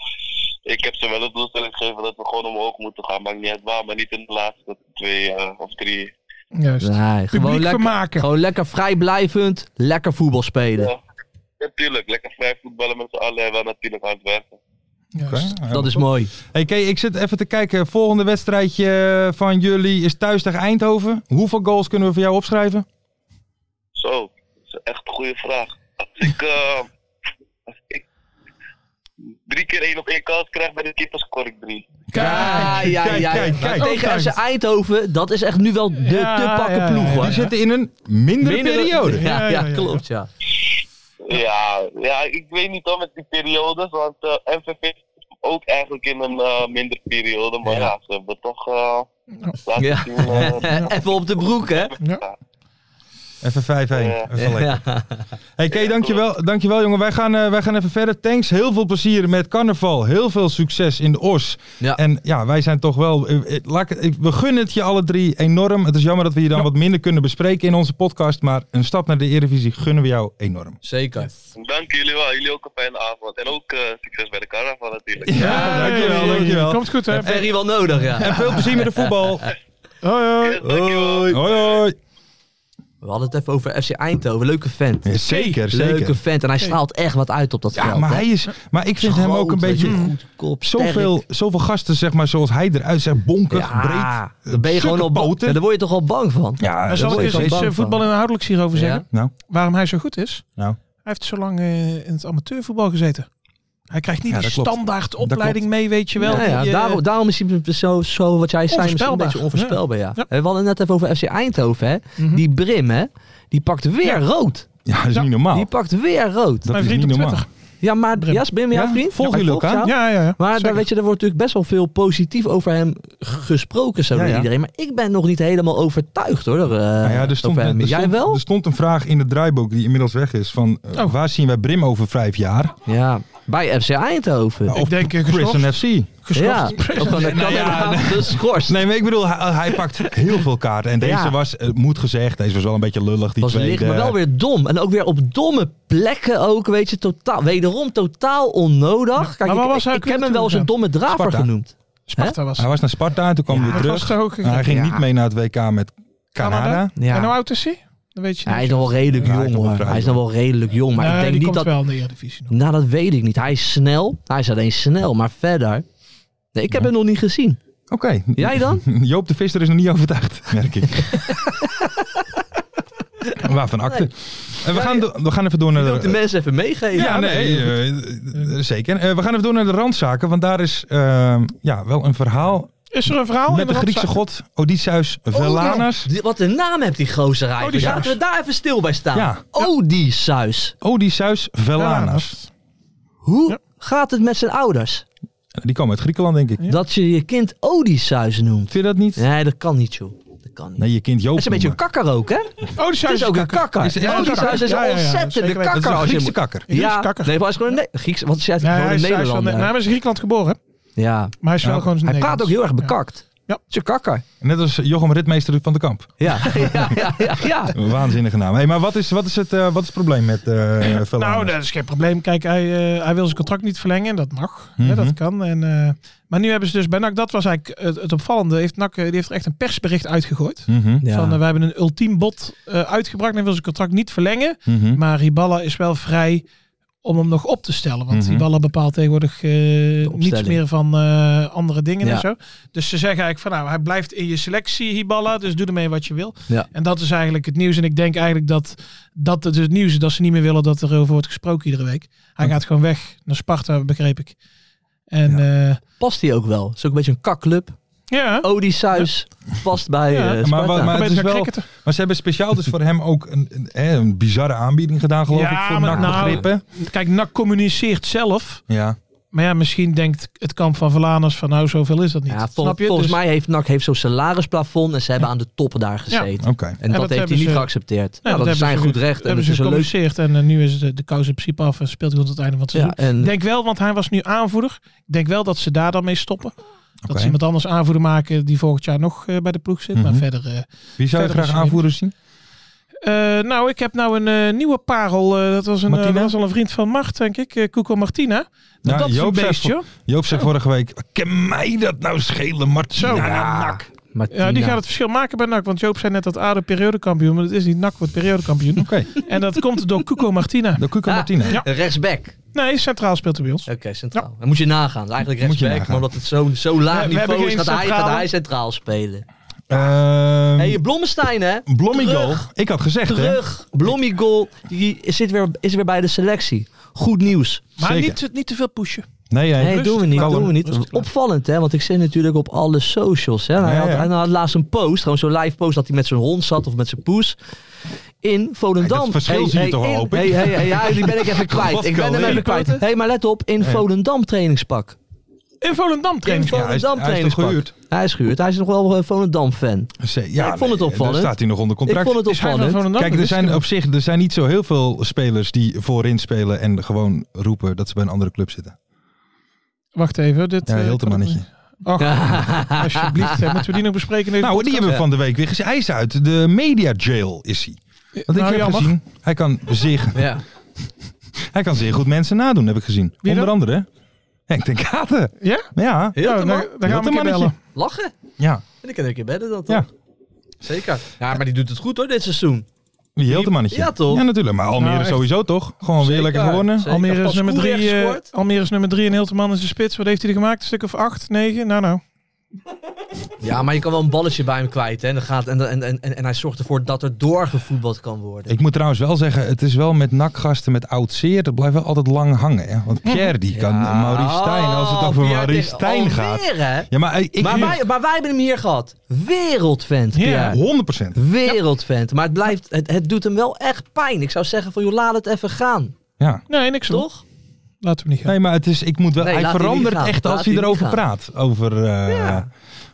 ik heb ze wel een doelstelling gegeven dat we gewoon omhoog moeten gaan, maakt niet uit waar, maar niet in de laatste twee eh, of drie.
Juist.
Nee, gewoon
Publiek
lekker,
vermaken.
gewoon lekker vrijblijvend, lekker voetbal spelen.
Ja, natuurlijk, lekker vrij voetballen met z'n allen en wel natuurlijk hard werken.
Juist.
Oké, ja,
Dat is mooi.
Hey Kay, ik zit even te kijken. Volgende wedstrijdje van jullie is thuis tegen Eindhoven. Hoeveel goals kunnen we voor jou opschrijven?
Zo, dat is echt een goede vraag. Als ik, eh, als ik drie keer één op één kans krijg bij de keeper, score ik drie.
Ja, ja, ja.
kijk,
ja.
kijk,
Maar
kijk.
Tegen FC Eindhoven, dat is echt nu wel de
Ja,
te pakken
ja,
ploeg
ja,
hoor.
Die zitten in een mindere,
Mindere-
periode.
Ja,
Ja,
ja,
ja, ja.
klopt ja.
Ja, ja, ik weet niet hoor met die periodes, want eh MVV zit ook eigenlijk in een eh, minder periode, maar
Ja.
ja, ze hebben toch eh laten
Ja.
zien. eh,
*laughs* Even op de broek hè.
Even 5-1.
Ja.
Even lekker.
Ja.
Hey Kay, dankjewel, dankjewel jongen. Wij gaan, eh, wij gaan even verder. Thanks, heel veel plezier met carnaval. Heel veel succes in de Os.
Ja.
En ja, wij zijn toch wel... eh, eh, laat ik- ik- we gunnen het je alle drie enorm. Het is jammer dat we je dan wat minder kunnen bespreken in onze podcast. Maar een stap naar de Eredivisie gunnen we jou enorm.
Zeker.
Dank jullie wel, jullie ook een fijne avond en ook eh, succes bij de carnaval natuurlijk.
Ja, dankjewel, dankjewel.
Komt goed, hè?
Ferry wel nodig ja.
En veel plezier met de voetbal.
Hoi, hoi.
Yes, dankjewel.
Hoi hoi.
We hadden het even over FC Eindhoven. Leuke vent.
Ja, zeker, zeker.
Leuke vent. En hij straalt echt wat uit op dat
Ja,
veld.
maar,
hè.
hij is, maar ik vind hem
Groot, Mm.
ook een
weet je,
beetje... Mm.
goed kop,
Zoveel,
sterk.
zoveel gasten, zeg maar, zoals hij eruit zegt. Bonkig,
Ja,
breed.
Dan ben je gewoon al bang.
boten.
Ja, daar word je toch al bang van.
Ja,
daar
Maar zal ik
word
eens
je
iets
bang
eh,
van.
voetbalinhoudelijks hierover
Ja?
zeggen?
Nou,
Waarom hij zo goed is?
nou.
Hij heeft zo lang eh, in het amateurvoetbal gezeten. Hij krijgt niet
Ja,
die
dat klopt.
standaard opleiding mee, weet je wel.
Ja, ja,
Die, eh,
daarom, daarom is hij zo, zo wat jij zei, misschien een beetje onvoorspelbaar.
Onvoorspelbaar.
Ja. Eh,
Ja.
We hadden het net even over FC Eindhoven. Hè.
Mhm.
Die Brim, hè, die pakt weer rood.
Ja, dat is
Ja.
niet normaal.
Die pakt weer rood.
Dat
Nou, Mijn
is
vriend
niet
op
normaal.
Twitter.
Ja, maar
Brim.
Ja, is Brim, jouw
Ja?
vriend?
Volg
Ja,
jullie ook
volgt
aan?
jou.
Ja, ja, ja.
Maar
Zeker.
daar, weet je, er wordt natuurlijk best wel veel positief over hem g- gesproken zo
Ja,
door
ja.
iedereen. Maar ik ben nog niet helemaal overtuigd hoor. eh,
Nou ja, er stond,
over hem.
er,
Jij
stond,
wel?
er stond een vraag in het draaiboek die inmiddels weg is. Van eh,
Oh.
waar zien wij Brim over vijf jaar?
Ja, bij FC Eindhoven.
Nou, of
denk, eh,
Prison
geschorst.
FC.
ja, ook gewoon een Canada *laughs* geschorst.
nou Nee, maar ik bedoel, hij, hij pakt heel veel kaarten. En deze
Ja.
was, eh, moet gezegd, deze was wel een beetje lullig. Die
was
tweede.
licht, maar wel weer dom. En ook weer op domme plekken ook, weet je. Totaal, wederom totaal onnodig. Kijk,
maar waar
ik,
was hij
ik,
ook
heb
weer
hem wel eens een
toe
domme draver
Sparta.
genoemd.
Sparta was.
Hij was naar Sparta en toen kwam hij
Maar
weer
het
terug.
was toch ook...
Nou, hij ging
Ja.
niet mee naar het WK met Canada.
Ja.
En hoe oud is hij? Dat weet je niet.
Hij is nog wel redelijk
Ja, hij is
jong
nog wel
hoor.
vrij
Hij is nog wel redelijk jong. Maar
Nee,
ik
die
denk niet
komt
dat...
wel in de Eredivisie nog.
Nou, dat weet ik niet. Hij is snel. Hij is alleen snel. Maar verder... Nee, ik heb hem nog niet gezien.
Oké.
Jij dan?
*laughs* Joop de Visser is nog niet overtuigd,
*laughs*
merk ik. Waarvan akte. Eh, we, gaan do- we gaan even door naar
Ik wil ook de mensen even meegeven.
Ja, nee, eh, eh, zeker. Eh, we gaan even door naar de randzaken, want daar is eh, ja, wel een
Oh,
verhaal
Is er een verhaal? in
met de Griekse
randzaak?
god Odysseus Velanas.
Die- Wat een naam heeft die gozer eigenlijk.
Odysseus.
Laten we daar even stil bij staan. Oh,
Ja.
Odysseus.
Odysseus Velanas.
Hoe
Ja.
gaat het met zijn ouders?
Die komen uit Griekenland, denk ik.
Dat je je kind Odysseus noemt.
Vind je dat niet?
Nee, dat kan niet, joh. Dat kan niet.
Nee, je kind Joop.
Het is een beetje een
noemen.
kakker ook, hè? Het
Oh, die
is ook een kakker.
Is- ja,
Odysseus
oh, kakker.
is
Ja, ja,
een
ja,
ontzettende
zeker weten.
kakker.
Dat is een
als je
Griekse
hem-
kakker.
Griekse
Ja,
kakker.
nee, maar hij is gewoon een Ne- Grieks. Want hij is
Nee,
gewoon
hij
een
is, hij is wel- nee,
Nederlander.
hij is in Griekenland geboren,
Ja.
maar hij is wel
Ja.
gewoon
Hij praat ook heel erg bekakt.
Ja.
Het is een kakker.
Net als eh, Jochem Ritmeester van de Kamp.
Ja, *laughs* ja, ja, ja. ja.
Een Waanzinnige naam. Hey, maar wat is, wat is, het, eh, wat is het probleem met eh Velanas?
Nou, dat is geen probleem. Kijk, hij, eh, hij wil zijn contract niet verlengen. en Dat mag.
Mhm.
hè, dat kan. En, eh, maar nu hebben ze dus bij NAC, dat was eigenlijk het, het opvallende. Heeft NAC, eh, die heeft er echt een persbericht uitgegooid.
Mhm,
Ja.
Van, eh, wij hebben een ultiem bod eh, uitgebracht en hij wil zijn contract niet verlengen.
mhm.
Maar Riballa is wel vrij om hem nog op te stellen. Want die
Mhm.
ballen bepaalt tegenwoordig eh, niets
opstelling.
meer van eh, andere dingen
Ja.
en zo. Dus ze zeggen eigenlijk van nou, hij blijft in je selectie, Hiballa, dus doe ermee wat je wil.
Ja.
En dat is eigenlijk het nieuws. En ik denk eigenlijk dat dat het, het nieuws is dat ze niet meer willen dat er over wordt gesproken iedere week. Hij
Oh.
gaat gewoon weg naar Sparta, begreep ik. En ja,
Past hij ook wel. Het is ook een beetje een kakclub.
ja.
Odie Suis past bij
Ja.
eh,
Maar
Sparta.
wat- maar- het
beter
is
gaan
wel-
cricketen.
Maar ze hebben speciaal dus voor hem ook een, een, hè, een bizarre aanbieding gedaan, geloof
Ja,
ik, voor
maar
NAC
nou-
begrippen.
Kijk, NAC communiceert zelf.
Ja.
Maar ja, misschien denkt het kamp van Verlaners van nou, zoveel is dat niet.
ja, vol-
Snap je?
Volgens
Dus-
mij heeft NAC heeft zo'n salarisplafond en ze hebben aan de top daar gezeten.
Oké.
En, dat,
dat
heeft hij
hebben
niet
ze-
geaccepteerd.
Ja,
nou, dat, is zijn
hebben
goed
ze-
recht. En
hebben
dat
ze
is een leuk...
gecommuniceerd en eh, nu is de, de kous in principe af en speelt hij tot het einde van het
Ja,
seizoen.
en
Ik denk wel, want hij was nu aanvoerder. Ik denk wel dat ze daar dan mee stoppen. Dat
Oké.
ze iemand anders aanvoerder maken die volgend jaar nog eh, bij de ploeg zit.
Mhm.
Maar verder... eh,
Wie zou je
Verder
graag
is er
aanvoeren zien?
eh, nou, ik heb nou een eh, nieuwe parel. eh, dat, was een, eh,
Martina?
dat was al een vriend van Mart, denk ik. eh Cuco Martina.
Ja,
Nou, dat is een
Joop zei
beestje.
vo- Joop zei vorige week, kan mij dat nou schelen, Mart?
Zo. Ja,
Ah, Martina.
Ja, die gaat het verschil maken bij NAC. Want Joop zei net dat ADO periodekampioen. Maar dat is niet NAC
*laughs*
wordt periodekampioen.
Oké,
en dat komt door Cuco Martina.
de Cuco
Ah,
Martina.
ja.
Rechtsback.
Nee, centraal speelt hij bij ons.
Oké, centraal. Dan moet je nagaan. Het is Eigenlijk
Moet je
rechtsback,
nagaan.
maar omdat het zo'n zo laag
We- we
niveau
hebben
is,
geen
gaat hij,
centrale-
gaat hij centraal spelen.
Ehm,
Hé, hey, Blommestein hè?
Blommigo.
Terug.
Ik had gezegd, hè?
Terug. Blommigol die zit weer, is weer bij de selectie. Goed nieuws.
Maar
Zeker.
niet, niet te veel pushen.
Nee, nee.
Nee, doen we niet.
Kalm.
Doen we niet.
Rustig.
Opvallend, hè? Want ik zit natuurlijk op alle socials. Hè? Nou, Hij,
Ja,
had,
ja.
hij had laatst een post, gewoon zo'n live post, dat hij met zijn hond zat of met zijn poes. In Volendam.
Hey, dat verschil zie je toch wel,
in-
hoop ik?
hey, hey, hey, ja, die ben ik
*laughs*
even kwijt.
Wat
Ik ben hem
kan
even
ik?
kwijt. Hé, hey, maar let op, in Volendam trainingspak.
In Volendam
In
training.
Ja, hij is-
Volendam
hij is toch
trainingspak.
gehuurd?
Hij is gehuurd. Hij is nog wel eh, een Volendam-fan.
Zee- Ja,
Ik vond het
nee,
opvallend.
Daar staat hij nog onder
Ik
contract.
vond het
Is hij van
opvallend. Nou,
Volendam?
Kijk, er zijn op zich er zijn niet zo heel veel spelers die voorin spelen en gewoon roepen dat ze bij een andere club
*laughs*
zitten.
Wacht even. Dit,
Ja,
eh,
heel te
kan ik
mannetje.
niet. Ach, alsjeblieft. hè, moeten we die nog bespreken? in deze
*laughs* Nou, die
podcast?
hebben we van de week weer gezien. Hij is uit de media jail, is hij. Want ik
Nou,
heb
jammer.
gezien, hij kan, zeer,
Ja.
hij kan zeer goed mensen nadoen, heb ik gezien.
Wie
Onder andere Henk ten Katen.
Ja?
Ja,
Heel te
nou,
man.
dan, dan gaan we
Heel
een
te
keer
mannetje.
bellen.
Lachen.
ja,
En ik kan een keer bedden dan toch?
Ja.
Zeker. Ja, maar die doet het goed hoor, dit seizoen.
die heel te mannetje.
Ja, toch?
Ja, natuurlijk. Maar Almere
Nou, echt.
sowieso, toch? Gewoon weer
Zeker.
lekker gewonnen.
Zeker.
Almere is,
Pas
nummer
Koer
drie,
heeft
eh,
gescoord.
Almere is nummer drie en Hilterman is de spits. Wat heeft hij er gemaakt? Een stuk of acht, negen? Nou, nou.
Ja, maar je kan wel een balletje bij hem kwijt. Hè? En, dan gaat, en, en, en, en hij zorgt ervoor dat er doorgevoetbald kan worden.
Ik moet trouwens wel zeggen, het is wel met nakgasten met oud zeer, dat blijft wel altijd lang hangen. Hè? Want Pierre die kan
Ja.
Maurice Stijn, als het over
Oh,
Maurice
Pierre
Stijn
tegen-
gaat.
alweer, hè?
Ja, maar eh, ik
maar, wij, maar wij hebben hem hier gehad. Wereldvent,
Ja.
Pierre.
100%.
Wereldvent. Maar het, blijft, het, het doet hem wel echt pijn. Ik zou zeggen van, joh, laat het even gaan.
Ja.
Nee, niks hoor.
Toch?
Laten we niet gaan.
Nee, maar het is, ik moet wel,
Nee,
hij
laat die
verandert
niet gaan.
echt
Laat
als
die
hij
niet
erover
gaan.
praat. Over, eh,
Ja.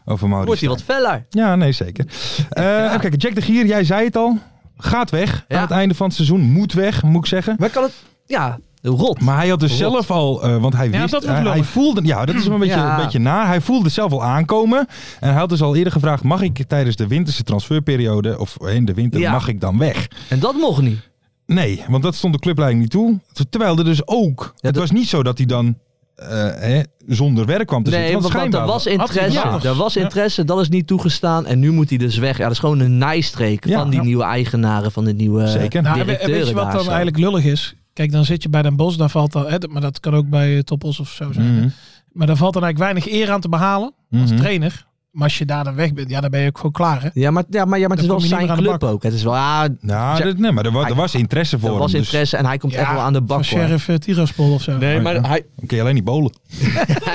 over Maurice
Wordt hij wat
Stijn.
feller.
Ja, nee, zeker. Eh Even kijken, Jack de Gier, jij zei het al. Gaat weg.
Ja.
Aan het einde van het seizoen moet weg, moet ik zeggen.
Maar kan het... Ja, rot.
Maar hij had dus
Rot.
zelf al, eh, want hij
Ja,
wist,
dat wordt
hij- hij
lullig.
voelde, ja, dat
*clears throat*
is hem een beetje,
Ja.
een beetje naar. Hij voelde zelf al aankomen en hij had dus al eerder gevraagd: mag ik tijdens de winterse transferperiode of in de winter
Ja.
mag ik dan weg?
En dat mocht niet.
Nee, want dat stond de clubleiding niet toe. Terwijl er dus ook, het
dat-
was niet zo dat hij dan eh, hè, zonder werk kwam te
Nee,
zitten.
want, want er
schijnbaar
was
wel.
interesse.
Had hij wel.
Er was
Ja.
interesse, dat is niet toegestaan. En nu moet hij dus weg. Ja, dat is gewoon een nijstreek
Ja.
van die
Ja.
nieuwe eigenaren, van de nieuwe
Zeker.
Nou, en we- en
directeuren
weet je wat
daar
dan
zo.
eigenlijk lullig is? Kijk, dan zit je bij Den Bos, daar valt dan, hè, dat- maar dat kan ook bij eh, Topos of zo zijn.
Mhm,
Maar daar valt dan eigenlijk weinig eer aan te behalen als
mhm.
trainer. Maar als je daar dan weg bent, ja, dan ben je ook gewoon klaar. Hè?
Ja, maar, ja, maar, ja, maar het is
Dan
wel
kom je niet meer
zijn
aan de
club
bak.
ook. Het is wel, ah, ja, er
Nou, dat- nee, maar er was, er was interesse voor
was
hem. Dus
interesse en hij komt echt
Ja,
wel aan de
Van
bak. hoor.
Sheriff eh, Tiraspol of zo.
Nee, maar
*laughs*
hij,
dan kun je alleen niet bolen.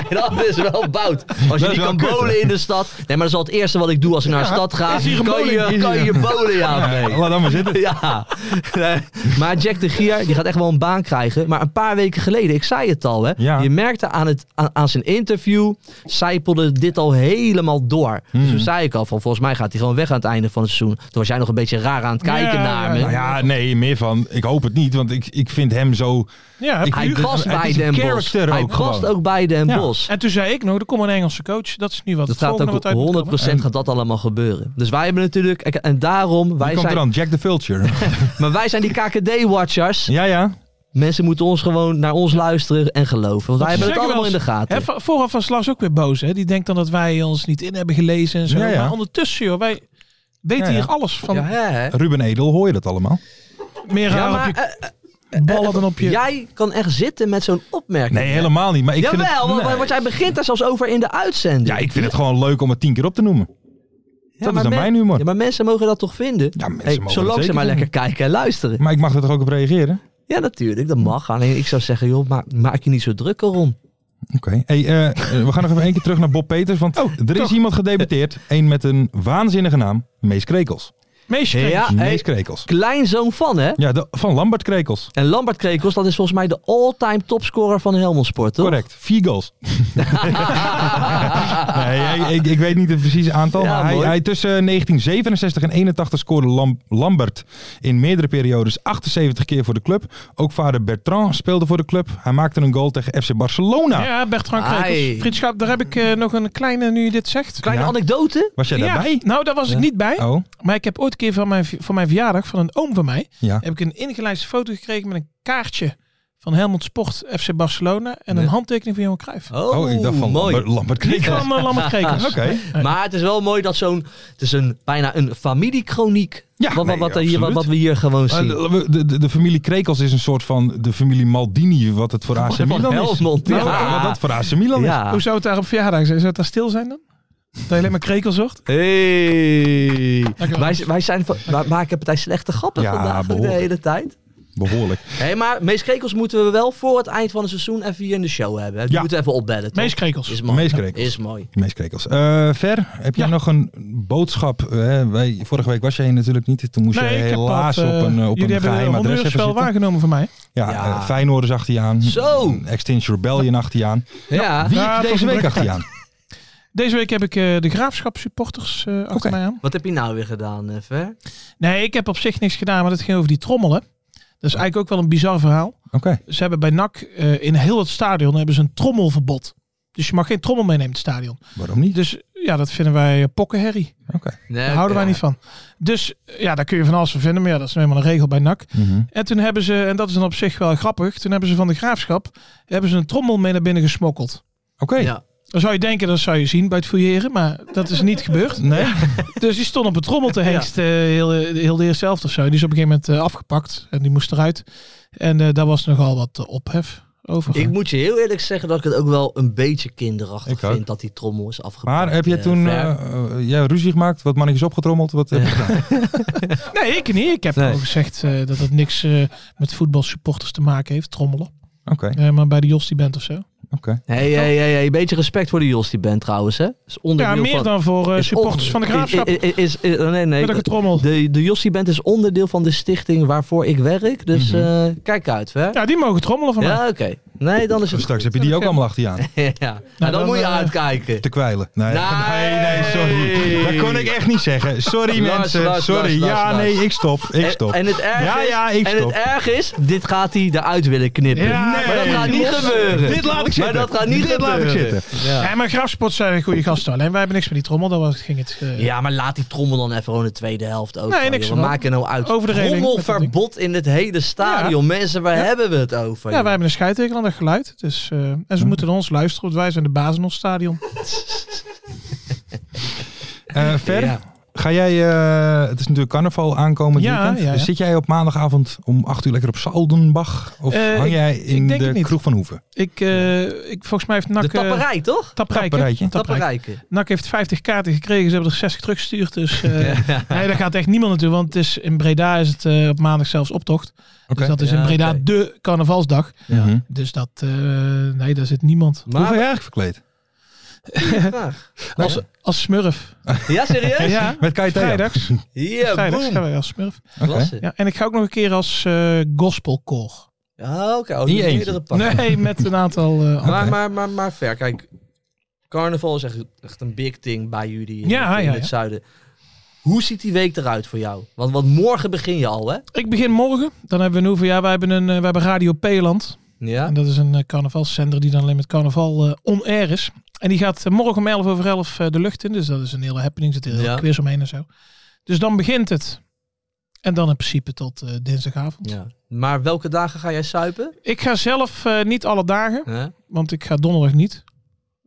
dat is wel bout. Als je
is
niet
wel
kan
kut, hè?
bolen in de stad. Nee, maar dat is wel het eerste wat ik doe als ik naar een stad ga.
is hier een
Kan
bowling?
je,
Is
kan
hier
je bolen, ja. Ah, Nee. *laughs*
Laat dan maar zitten.
Ja, Nee. maar Jack de Gier die gaat echt wel een baan krijgen. Maar een paar weken geleden, ik zei het al, hè,
Ja.
je merkte aan, het, aan, aan zijn interview, zijpelde dit al helemaal door.
Hmm.
Dus toen zei ik al, van, volgens mij gaat hij gewoon weg aan het einde van het seizoen. Toen was jij nog een beetje raar aan het kijken
Ja,
naar me.
nou
Nou ja, nee, meer van, ik hoop het niet, want ik, ik vind hem zo...
Ja,
Ik-
hij
het-
past
het
bij
is een
Den Bosch.
character
Hij
ook
past
gewoon.
ook bij Den
Ja.
Bos.
en toen zei ik nog, er komt een Engelse coach. Dat is nu wat
Dat
het
gaat
volgende
ook
wat uit moet komen.
100% gaat dat allemaal gebeuren. Dus wij hebben natuurlijk, kijk, en daarom,
Wie
wij
komt er
zijn,
dan? Jack the Vulture.
*laughs* maar wij zijn die KKD-watchers.
ja, ja.
Mensen moeten ons gewoon naar ons luisteren en geloven. Want wij hebben het
Zeggen
allemaal
we
in de
als-
gaten.
Hè, va- vooraf was Lars ook weer boos. Hè? Die denkt dan dat wij ons niet in hebben gelezen en zo.
Ja, ja.
Maar ondertussen, joh, wij weten
Ja, ja.
hier alles van.
hè, hè?
Ruben Edel, hoor je dat allemaal?
Meer
Ja,
raar op
maar
je-
eh, eh,
ballen dan op je...
Jij kan echt zitten met zo'n opmerking.
Nee, helemaal niet. Maar ik vind
Jawel,
het,
want-
Nee.
want jij begint daar zelfs over in de uitzending.
Ja, ik vind het gewoon leuk om het tien keer op te noemen.
Ja,
dat is
maar
dan
men-
mijn humor.
Ja, maar mensen mogen dat toch vinden?
Ja, mensen
Hey,
mogen dat
zolang ze
zeker
maar
vinden.
lekker kijken en luisteren.
Maar ik mag er toch ook op reageren?
Ja, natuurlijk, dat mag. Alleen ik zou zeggen, joh, maak, maak je niet zo druk erom.
Oké. Hey, eh, eh, we gaan nog even één keer terug naar Bob Peters. Want er is
Oh, toch.
iemand gedebuteerd. Eén met een waanzinnige naam. Mees Krekels.
Meesje,
Ja, hey,
Mees Krekels.
kleinzoon van, hè?
Ja, de- van Lambert Krekels.
En Lambert Krekels, dat is volgens mij de all-time topscorer van Helmond Sport, toch?
Correct. Vier goals. *laughs* nee, ik, ik, ik weet niet het precieze aantal.
Ja,
maar hij,
mooi.
hij tussen 1967 en 81 scoorde Lam- Lambert in meerdere periodes 78 keer voor de club. Ook vader Bertrand speelde voor de club. Hij maakte een goal tegen FC Barcelona.
Ja, Bertrand Krekels.
Ai.
Frits Schaap, daar heb ik eh, nog een kleine, nu je dit zegt.
Kleine
Ja.
anekdote.
Was jij
Ja,
daarbij?
nou, daar was ik niet bij.
Oh,
Maar ik heb ooit een keer van mijn, van mijn verjaardag, van een oom van mij,
ja.
heb ik een ingelijste foto gekregen met een kaartje van Helmond Sport FC Barcelona en een
Nee.
handtekening van Johan Cruijff.
Oh, ik dacht van
mooi.
Lambert, Lambert
Niet
Krekels.
van eh, Lambert Krekels.
*laughs* Oké.
Maar het is wel mooi dat zo'n... Het is een, bijna een familiekroniek.
Ja,
wat, wat,
nee,
wat, er hier, wat,
absoluut.
wat we hier gewoon
Maar
zien.
De, de- de, de familie Krekels is een soort van de familie Maldini, wat het voor AC
Van
Milan is.
Helmond, ja.
Nou, Wat dat voor AC Milan is.
ja.
Hoe zou het daar op verjaardag zijn? Zou het daar stil zijn dan? Dat je alleen maar Krekels zocht?
Hey.
Dankjewel.
Wij, wij, zijn van, wij maken partij slechte grappen
Ja,
vandaag de
behoorlijk.
hele tijd.
Behoorlijk.
Hé, maar Mees Krekels moeten we wel voor het eind van het seizoen even hier in de show hebben. hè. Die
Ja.
moeten we even opbellen. toch?
Meest Krekels.
Is mooi.
Mees Krekels.
Is mooi.
Mees Krekels. Eh, Ver, heb jij
Ja.
nog een boodschap? Eh, wij, vorige week was jij hier natuurlijk niet. Toen moest
Nee,
je
ik heb
helaas
dat, eh,
op een, eh, op
jullie
een
hebben
geheim adres
Honduras
even
wel
zitten.
waargenomen van mij.
Ja,
Ja.
eh, Feyenoorders achter je aan.
Zo.
Extinction Rebellion achter je aan.
Ja.
Wie
Ja,
heeft
het was
deze
een
week
druk
achter je aan?
Deze week heb ik eh, de Graafschap supporters eh, achter
Oké.
mij aan.
Wat heb je nou weer gedaan, eh, Ver?
Nee, ik heb op zich niks gedaan, maar dat ging over die trommelen. Dat is eigenlijk ook wel een bizar verhaal.
Oké.
Ze hebben bij NAC eh, in heel het stadion hebben ze een trommelverbod. Dus je mag geen trommel meenemen in het stadion.
Waarom niet?
Dus ja, dat vinden wij eh, pokkenherrie.
Oké.
Nee,
Daar houden wij
ja.
niet van. Dus ja, daar kun je van alles van vinden. Maar ja, dat is nou eenmaal een regel bij NAC.
Mhm.
En toen hebben ze, en dat is dan op zich wel grappig. Toen hebben ze van de graafschap hebben ze een trommel mee naar binnen gesmokkeld.
Oké.
Ja.
Dan zou je denken, dat zou je zien bij het fouilleren. Maar dat is niet
*laughs*
gebeurd.
Nee?
Dus die stond op een trommel te hengst eh, heel, eh, heel de eerste helft of zo. Die is op een gegeven moment eh, afgepakt. En die moest eruit. En eh, daar was nogal wat eh, ophef over.
Ik moet je heel eerlijk zeggen dat ik het ook wel een beetje kinderachtig
Ik ook.
vind dat die trommel is afgepakt.
Maar heb je
eh,
toen
Ver.
eh, eh, jij ruzie gemaakt? Wat mannetjes opgetrommeld? Wat heb je gedaan?
Nee, ik niet. Ik heb
Nee.
al gezegd eh, dat het niks eh, met voetbalsupporters te maken heeft, trommelen.
Oké. Oké.
Eh, maar bij de Jos die bent of zo.
Hey, hey, hey, hey, beetje respect voor de Jos die band trouwens, hè? Is
Ja,
onderdeel
meer
van,
dan voor eh,
is
supporters
on-
van de graafschap.
Is, is, is- is- nee, nee.
Met een getrommel.
De, de Jossie Band is onderdeel van de stichting waarvoor ik werk. Dus
Mhm.
eh, kijk uit, hè? Ja,
Ja, die mogen trommelen van mij.
oké. Nee, dan is het
Dus Straks heb je die ook allemaal achter je aan.
goed. *laughs* ja. Nou, dan,
dan,
moet je
eh,
uitkijken.
te kwijlen. Nee,
Nee.
nee, nee, sorry. Dat kon ik echt niet zeggen. Sorry
Lars,
mensen,
Lars,
sorry.
Lars,
ja,
Lars.
nee, ik stop. *laughs* Ik
En,
stop.
en het erg
Ja,
is,
ja, ik
en het
stop.
erg is, dit gaat hij eruit willen knippen.
Ja,
maar dat
nee.
gaat niet
Los.
gebeuren.
Dit laat ik zitten.
Maar dat gaat niet
Dit laat
gebeuren.
ik zitten.
Ja.
Ja, maar graafsports zijn goede gasten. Alleen wij hebben niks met die trommel. Dat was, ging het. eh,
Ja, maar laat die trommel dan even gewoon de tweede helft ook.
Nee,
van,
niks
joh.
van.
We maken nou uit.
Over de reling met dat ding.
Trommelverbod in het hele stadion. Mensen, waar hebben we het over?
Ja,
joh?
wij hebben een scheidteken aan dat geluid. Dus, eh, en
Hm.
ze moeten naar ons luisteren, want wij zijn de baas in ons stadion.
Eh, Ver,
Ja.
ga jij, eh, het is natuurlijk carnaval aankomend
Ja,
weekend.
ja, ja.
Dus zit jij op maandagavond om 8 uur lekker op Saldenbach? Of
Eh,
hang jij in
ik denk
de
het niet.
kroeg van Hoeven?
Ik, eh, ik, volgens mij heeft NAC...
De
eh,
tapperij, toch?
Tapperijken.
Tapperijken.
Tapperijken.
Tapperijken.
NAC heeft 50 kaarten gekregen. Ze hebben er 60 teruggestuurd.
*laughs*
Dus eh, nee, daar gaat echt niemand naartoe. Want het is, in Breda is het eh, op maandag zelfs optocht.
Oké.
Dus dat is
Ja,
in Breda
oké.
de carnavalsdag.
Mhm.
Dus dat... eh, nee, daar zit niemand.
Hoe ga
Maar,
jij eigenlijk verkleed?
Als, als smurf.
ja, serieus? Ja,
Ja,
Met Kai Theo?
*laughs*
vrijdags. Vrijdags gaan
boom.
wij als smurf.
Oké.
Klasse.
Ja, en ik ga ook nog een keer als eh gospelkoor.
Ja, oké. Oh,
Niet
die
eentje.
meerdere pakken.
Nee, met een aantal...
*laughs*
eh,
Maar, maar, maar, maar ver, kijk. Carnaval is echt, echt een big thing bij jullie in,
Ja,
het- in
ja,
het
ja.
zuiden. Hoe ziet die week eruit voor jou? Want, want morgen begin je al, hè?
Ik begin morgen. Dan hebben we een hoeveel jaar? Wij hebben, een, eh, wij hebben Radio Peeland.
Ja.
En dat is een eh, carnavalszender die dan alleen met carnaval eh on-air is. En die gaat eh, morgen om 11 over 11 eh, de lucht in. Dus dat is een hele happening. Er zit heel
Ja.
veel quiz omheen en zo. Dus dan begint het. En dan in principe tot eh, dinsdagavond.
ja. Maar welke dagen ga jij suipen?
Ik ga zelf eh, niet alle dagen,
Hè?
want ik ga donderdag niet.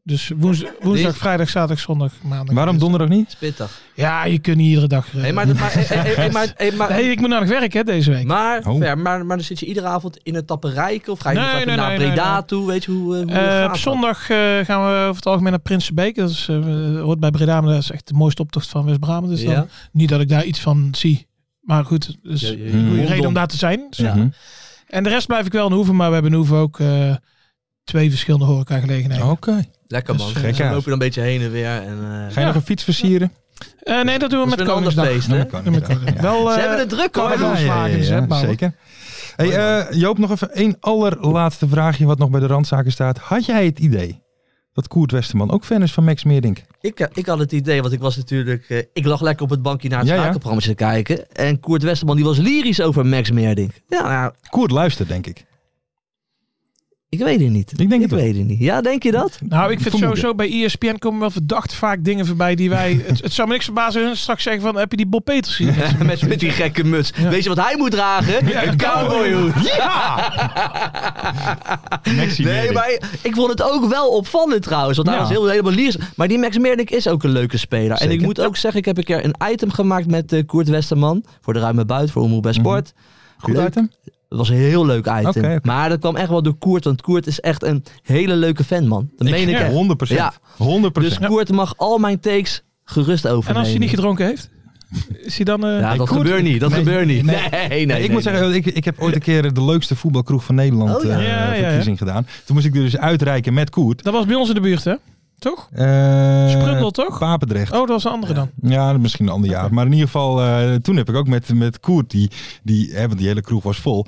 Dus woens- woensdag, vrijdag, zaterdag, zondag, maandag.
Waarom donderdag niet?
Pittig.
Ja, je kunt niet iedere dag. eh,
Hey, maar,
*laughs*
maar, hey, hey, hey, maar, hey, maar,
Nee, ik moet naar het werk hè, deze week.
maar,
Oh.
ver, maar, maar dan zit je iedere avond in het tapperijke of ga je
Nee,
nog even
nee,
naar
nee,
Breda
nee, nee.
toe? Weet je hoe, eh, hoe
Eh,
gaat
op
dat?
zondag eh, gaan we over het algemeen naar Prinsenbeek. Dat is, eh, hoort bij Breda, maar dat is echt de mooiste optocht van West-Brabant. Dus dan-
Ja.
niet dat ik daar iets van zie. Maar goed, dus
Ja, ja, ja.
goede reden
Rondom.
om daar te zijn. Dus-
Mhm.
En de rest blijf ik wel in Hoeven, maar we hebben in Hoeven ook eh, twee verschillende horecagelegenheden.
Oké.
Lekker man.
Dus,
Dan
eh,
lopen we dan een beetje heen en weer. En, eh,
Ga je nog een fiets versieren?
Eh, nee, dat doen we
dat is weer
met
een ander
Koningsdag.
feest, hè?
Nou,
Doen we met
kan
Koningsdag. Wel,
Ze
eh,
hebben het druk hoor.
Carnaval. dus, hè, maar-
zeker. Hey, eh, Joop, nog even één allerlaatste vraagje wat nog bij de randzaken staat. Had jij het idee dat Koert Westerman ook fan is van Max Meerdink?
Ik, eh, ik had het idee, want ik was natuurlijk... eh, ik lag lekker op het bankje naar het
Ja, ja.
schakelprogramma te kijken. En Koert Westerman die was lyrisch over Max Meerdink. Ja, nou,
Koert luistert,
*laughs*
denk ik.
ik weet het niet.
Ik denk het
Ik
wel.
weet het niet. Ja, denk je
*laughs*
dat?
nou, ik vind
Vermoeden.
sowieso bij ESPN komen wel verdacht vaak dingen voorbij die
*laughs*
wij... het, het zou me niks verbazen als hun straks zeggen van, heb je die Bob Peters gezien?
Met, met *laughs* die gekke muts. Weet je wat hij moet dragen? een cowboyhoed.
Maxi
Nee, maar ik vond het ook wel opvallend trouwens. Want hij
Ja.
was heel, helemaal liers. Maar die Max Meerdink is ook een leuke speler. En
Zeker.
ik moet ook zeggen, ik heb een keer een item gemaakt met eh, Koert Westerman. Voor de Ruime Buit, voor Omroep bij Sport.
Goed
Leuk.
uit hem.
Het was een heel leuk item.
Mhm. Oké, oké.
Maar dat kwam echt wel door Koert. Want Koert is echt een hele leuke fan, man. Dat meen ik echt.
100 procent.
Ja.
100
Dus Koert mag al mijn takes gerust overnemen.
en als hij niet gedronken heeft? Is hij dan... eh,
Ja, dat
Koert-
gebeurt niet. Dat
Nee,
gebeurt niet.
nee.
Nee, nee, nee.
ik
nee.
moet zeggen, ik, ik heb ooit een keer de leukste voetbalkroeg van Nederland
Oh, ja.
eh,
Ja, ja, ja.
verkiezing gedaan. Toen moest ik er dus uitreiken met Koert.
Dat was bij ons in de buurt, hè? Toch?
Eh,
Sprundel, toch?
Papendrecht.
Oh, dat was een andere dan.
Ja, misschien een ander jaar. Maar in ieder geval, eh, toen heb ik ook met, met Koert, die, die, hè, want die hele kroeg was vol.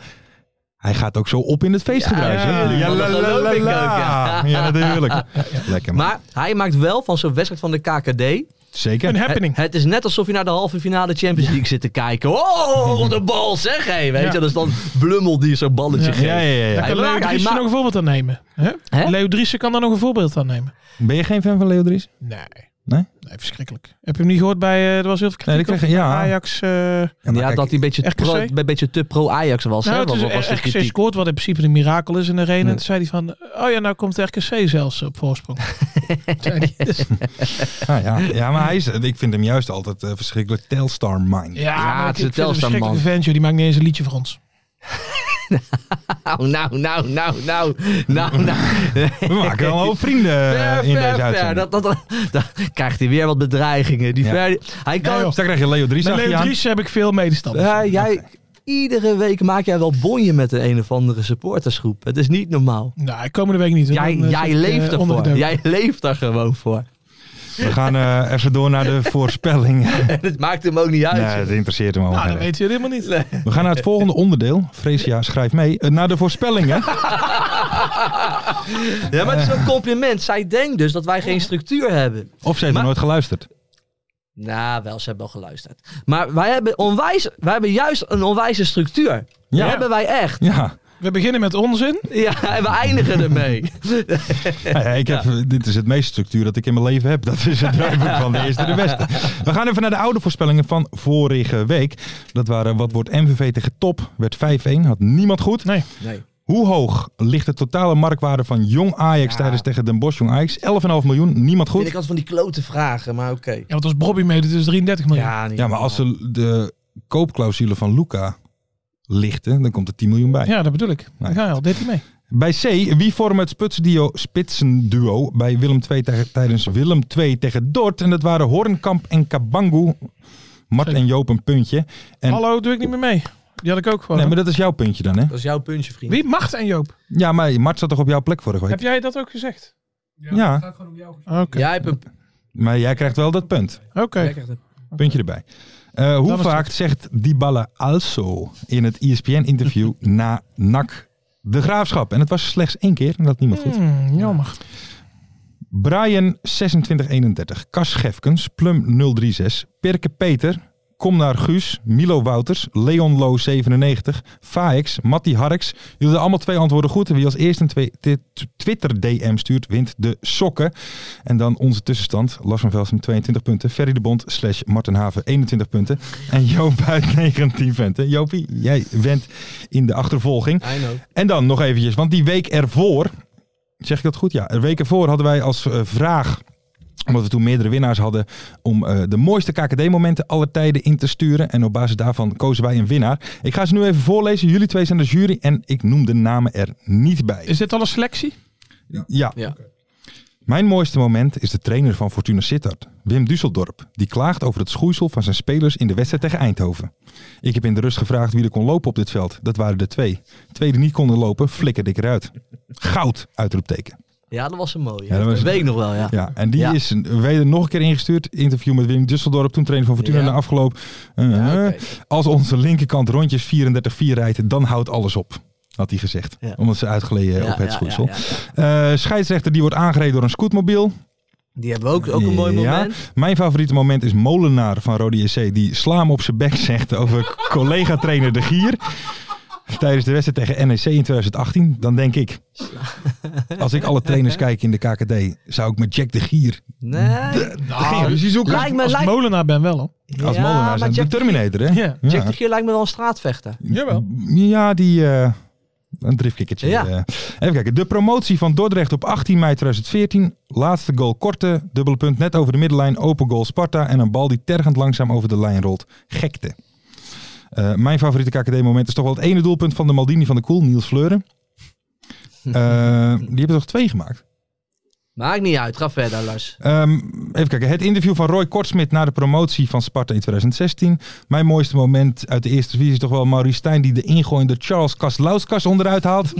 Hij gaat ook zo op in het feestgedruis.
Ja,
hè?
ja,
dat geloof ik ook, ja.
Ja, natuurlijk. Lekker man.
Maar hij maakt wel van zo'n wedstrijd van de KKD...
Zeker.
Een happening.
Het, het is net alsof je naar de halve finale Champions League zit te kijken. Oh, de bal zeg hé. Weet
Ja.
je, dat is dan Blummel die zo'n balletje
Ja.
geeft.
Ja, ja, ja, ja.
Daar kan
Hij
Leo
maakt- hij
Driessen
maakt-
nog een voorbeeld aan nemen. Hè?
Hè?
Leo Driessen kan daar nog een voorbeeld aan nemen.
Ben je geen fan van Leo Dries?
Nee.
Nee?
Nee, verschrikkelijk. Heb je hem niet gehoord bij... eh, er was heel veel kritiek
Nee, ik kreeg,
over
ja.
Ajax. eh nou,
Ja,
maar kijk,
dat hij een beetje,
RKC?
pro- een beetje te pro-Ajax was. hè?
Nou, het
Wat
is
was de
RKC
kritiek?
scoort, wat in principe een mirakel is in de arena. En toen zei hij van... Oh ja, nou komt RKC zelfs
*laughs*
op voorsprong. zei hij. Dus-
Ah, ja. *laughs* ja, maar hij is, ik vind hem juist altijd eh, verschrikkelijk telstar mind.
ja, maar
het
ik-
is een
ik vind het
Telstar, man.
verschrikkelijke vent, joh. Die maakt niet eens een liedje voor ons.
Nou, nou, nou, nou, nou, nou, nou.
*laughs* We maken wel een hoop vrienden eh,
Ver,
in
ver,
deze
ver.
uitzending.
Dat, dat, dan krijgt hij weer wat bedreigingen. Die
Ja.
ver, hij kan...
Nee, joh.
Dus daar krijg je Leo Dries
Met
achter je
Leo
aan.
Driessen heb ik veel medestanders.
Ja, jij, iedere week maak jij wel bonje met de een of andere supportersgroep. Het is niet normaal.
Nou, komende week niet. hè.
Jij,
Dan, eh,
jij
zit ik, eh,
leeft ervoor.
ondergedoken.
Jij leeft er gewoon voor. *laughs*
We gaan eh, even door naar de voorspelling.
En het maakt hem ook niet uit.
Nee, dat interesseert hem allemaal
Nou, dat
niet.
weten jullie helemaal niet.
We gaan naar het volgende onderdeel. Freesia, schrijf mee. Eh, naar de voorspellingen.
Ja, maar het is een
Eh.
compliment. Zij denkt dus dat wij geen structuur hebben.
Of ze heeft nog
Maar-
nooit geluisterd.
Nou, wel, ze hebben wel geluisterd. Maar wij hebben, onwijs, wij hebben juist een onwijze structuur. Die
Ja.
hebben wij echt.
Ja,
We beginnen met onzin.
Ja, en we eindigen
*laughs*
ermee.
Nou ja, ik heb, dit is het meest structuur dat ik in mijn leven heb. Dat is het *laughs* draaiboek van de eerste de beste. We gaan even naar de oude voorspellingen van vorige week. Dat waren wat wordt MVV tegen top. Werd 5-1. Had niemand goed.
Nee.
Nee.
Hoe hoog ligt de totale marktwaarde van jong Ajax tijdens tegen Den Bosch jong Ajax? 11,5 miljoen.
Vind ik
Niemand goed.
altijd van die klote vragen, maar oké.
Ja, want als Bobby meedoet is 33 miljoen.
Ja, niet
Ja, maar als ze de koopclausule van Luca lichten, dan komt er 10 miljoen bij.
Ja, dat bedoel ik. Daar ga je al, deed hij mee.
Bij C, wie vormen het spitsduo, spitsenduo bij Willem II tegen- tijdens Willem II tegen Dort? En dat waren Hornkamp en Kabangu. Mart en Joop een puntje. En,
Hallo, doe ik niet meer mee. Die had ik ook gewoon.
nee, maar dat is jouw puntje dan, hè?
Dat is jouw puntje, vriend.
Wie? Macht en Joop.
Ja, maar Mart zat toch op jouw plek vorige week?
Heb jij dat ook gezegd?
Ja,
Ja.
Het gaat gewoon om jou.
Oké.
Jij hebt een...
Maar jij krijgt wel dat punt.
Oké.
jij krijgt een-
Puntje erbij. Eh, hoe
was
vaak zegt Dybala also in het E
*laughs*
ESPN-interview na NAC de graafschap? En het was slechts één keer en dat niemand goed.
Hmm, jammer.
Brian 2631, Cas Gefkens, Plum 036, Pirke Peter, Kom naar Guus, Milo Wouters, Leon Lo 97, Faex, Matti Harks. Jullie hadden allemaal twee antwoorden goed. En wie als eerste een twe- ti- t- Twitter DM stuurt, wint de sokken. En dan onze tussenstand. Lars van Velsen 22 punten, Ferry de Bond slash Martin Haven 21 punten. En Joop *laughs* uit 19 punten. Jopie, jij went in de achtervolging.
I know.
En dan nog eventjes, want die week ervoor Zeg ik dat goed? Ja. Een week ervoor hadden wij als eh, vraag omdat we toen meerdere winnaars hadden om eh, de mooiste KKD-momenten aller tijden in te sturen. En op basis daarvan kozen wij een winnaar. Ik ga ze nu even voorlezen. Jullie twee zijn de jury en ik noem de namen er niet bij.
Is dit al een selectie?
Ja.
Ja. Oké.
Mijn mooiste moment is de trainer van Fortuna Sittard, Wim Dusseldorp, die klaagt over het schoeisel van zijn spelers in de wedstrijd tegen Eindhoven. Ik heb in de rust gevraagd wie er kon lopen op dit veld. Dat waren er twee. Twee die niet konden lopen, flikkerde ik eruit. Goud, uitroepteken.
Ja, dat was een mooie.
Ja, dat was
dat
een-
weet ik nog wel, ja.
Ja, en die
Ja.
is een- weder nog een keer ingestuurd. Interview met Wim Dusseldorp, toen trainer van Fortuna
Ja.
na afgelopen. eh,
Ja, oké.
Als onze linkerkant rondjes 34-4 rijdt, dan houdt alles op. Had hij gezegd.
Ja.
Omdat ze uitgeleden
Ja,
op het
ja,
schoeisel.
ja, ja.
Eh, scheidsrechter die wordt aangereden door een scootmobiel.
Die hebben we ook, ook een mooi
Ja.
moment.
Mijn favoriete moment is Molenaar van Rode JC. Die slaam op zijn bek zegt over
*laughs*
collega-trainer De Gier. Tijdens de wedstrijd tegen NEC in 2018. Dan denk ik, als ik alle trainers kijk in de KKD, zou ik met Jack De Gier
Nee.
geen ruzie zoeken.
Lijkt me,
Als
lijkt
molenaar ben wel hoor.
als
ja,
Molenaar
maar
zijn.
Jack,
de Terminator, hè?
Ja.
Jack de Gier lijkt me wel een straatvechter.
Jawel.
Ja, die... eh, een driftkikkertje.
Ja.
eh. Even kijken. De promotie van Dordrecht op 18 mei 2014. Laatste goal korte, dubbele punt net over de middenlijn. Open goal Sparta en een bal die tergend langzaam over de lijn rolt. Gekte. Eh, mijn favoriete KKD-moment is toch wel het ene doelpunt van de Maldini van de Koel, Niels Fleuren. Eh, die hebben toch twee gemaakt?
Maakt niet uit, ga verder, Lars.
Ehm, even kijken. Het interview van Roy Kortsmit na de promotie van Sparta in 2016. Mijn mooiste moment uit de eerste divisie is toch wel Maurice Stijn die de ingooiende Charles Kaslauskas onderuit haalt.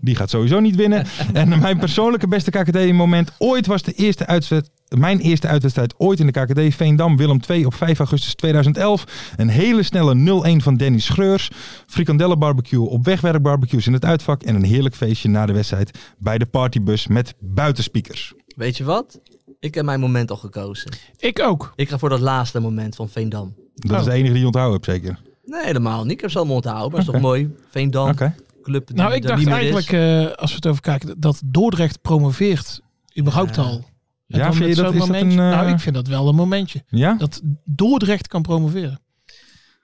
die gaat sowieso niet winnen. En mijn persoonlijke beste KKD-moment ooit was de eerste uitzet. Mijn eerste uitwedstrijd ooit in de KKD, Veendam, Willem 2 op 5 augustus 2011. Een hele snelle 0-1 van Danny Schreurs. Frikandellen barbecue op wegwerkbarbecues in het uitvak. En een heerlijk feestje na de wedstrijd bij de partybus met buitenspeakers.
Weet je wat? Ik heb mijn moment al gekozen.
Ik ook.
Ik ga voor dat laatste moment van Veendam.
Dat is de enige die je onthouden hebt, zeker.
Nee, helemaal niet. Ik heb ze allemaal onthouden, maar is toch mooi. Veendam,
Oké.
club die
Nou, ik
er
dacht
niet meer is.
eigenlijk, eh, als we het over kijken, dat Dordrecht promoveert. Überhaupt
Ja.
al. En
Ja,
dan
vind je
met
dat-
zo'n
is dat
momentje.
een, eh,
Nou, ik vind dat wel een momentje.
Ja?
Dat Dordrecht kan promoveren.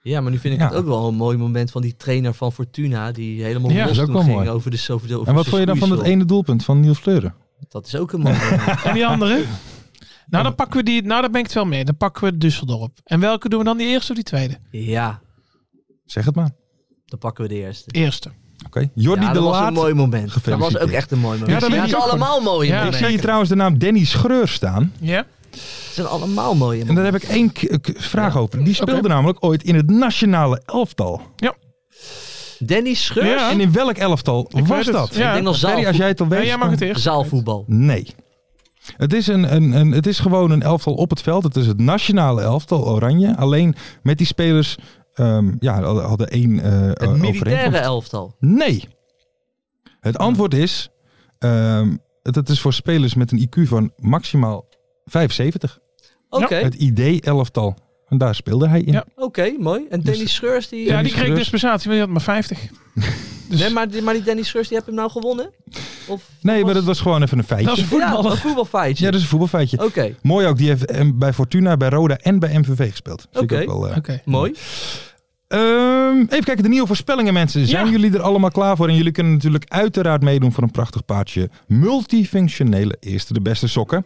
Ja, maar nu vind ik
Ja.
het ook wel een mooi moment van die trainer van Fortuna. Die helemaal los
Ja,
dat is ook
toen
wel
ging
mooi.
over de over de- over
En wat
de
vond
dus
je dan van dat
schoeisel.
ene doelpunt van Niels Fleuren?
Dat is ook een mooi moment. *laughs*
En die andere? Nou, dan pakken we die. Nou, daar ben ik het wel mee. Dan pakken we Düsseldorp. En welke doen we dan? Die eerste of die tweede?
ja,
Zeg het maar.
dan pakken we de eerste.
Eerste.
Oké. Jordi
ja,
de
dat was een
Laat.
mooi moment. Dat was ook
Gefeliciteerd.
echt een mooi moment.
Ja, dat
Ja,
weet
het
ik
zijn
ook
allemaal mooie
Ja,
Ik
momenten.
zie hier trouwens de naam Danny Schreur staan.
Ja?
Het zijn allemaal mooie
En daar
momenten.
heb ik één k- k- vraag
Ja.
over. Die speelde
Oké.
namelijk ooit in het nationale elftal.
Danny Scheurs.
Ja.
En in welk elftal
Ik
was
weet het.
dat?
Ja.
Ik denk nog
Ferry,
zaalvoetbal.
als jij het al weet.
Nee, jij mag
dan-
het eerst.
zaalvoetbal.
Nee. Het is, een, een, een, het is gewoon een elftal op het veld. Het is het nationale elftal, Oranje. Alleen met die spelers ehm, ja, hadden één eh
Het
overeenkomst.
militaire elftal.
Nee. Het antwoord is: ehm het, het is voor spelers met een IQ van maximaal 75.
Oké,
Het ID-elftal. En daar speelde hij in.
Ja.
oké, mooi. En Danny Scheurs, die...
Ja, die
Dennis
kreeg
Gerust.
dispensatie, maar die had maar 50.
Nee, maar, die- maar die Danny Scheurs, die heb hem nou gewonnen? Of,
Nee, maar dat was gewoon even een
Dat is
feitje.
een
Ja,
voetballer.
een voetbalfeitje.
Ja, dat is een voetbalfeitje.
Oké,
Mooi ook, die heeft eh, bij Fortuna, bij Roda en bij MVV gespeeld. Vind ik
Oké.
ook wel, eh.
Oké.
mooi.
Ehm, even kijken, de nieuwe voorspellingen mensen. Zijn
Ja.
jullie er allemaal klaar voor? En jullie kunnen natuurlijk uiteraard meedoen voor een prachtig paardje. Multifunctionele eerste de beste sokken.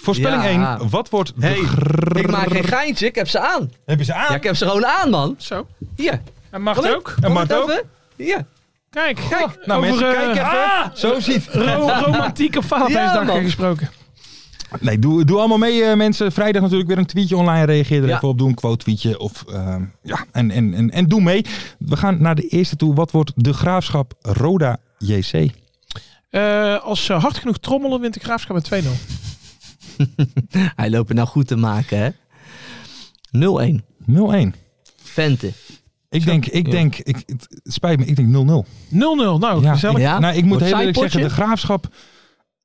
Voorspelling
Ja.
1. Wat wordt de
Hey,
gr-
Ik maak geen geintje, ik heb ze aan.
Heb je ze aan?
Ja, ik heb ze gewoon aan, man.
Zo.
Hier,
En mag
Kom
het
ik?
ook.
En
kom
Mart
het
ook?
even. Hier,
Kijk.
kijk.
Nou
Over,
mensen,
eh,
kijk even.
ah!
Zo ziet.
Ro romantiek op Valentijnsdag
Ja, man.
gesproken.
Nee, doe, doe allemaal mee eh, mensen. Vrijdag natuurlijk weer een tweetje online. Reageer er
Ja.
even op. Doe een quote tweetje. Of, ehm, ja, en, en, en, en doe mee. We gaan naar de eerste toe. Wat wordt de graafschap Roda JC?
Eh, als ze hard genoeg trommelen, wint de graafschap met 2-0.
Hij loopt het nou goed te maken, hè. 0-1.
0-1.
Vente.
Ik denk, ik
Ja. Oh,
denk, ik, het spijt me, ik denk 0-0.
0-0. Nou,
Ja.
gezellig.
Ja?
Nou, ik moet
Wordt
heel eerlijk
zijpotje?
zeggen, de graafschap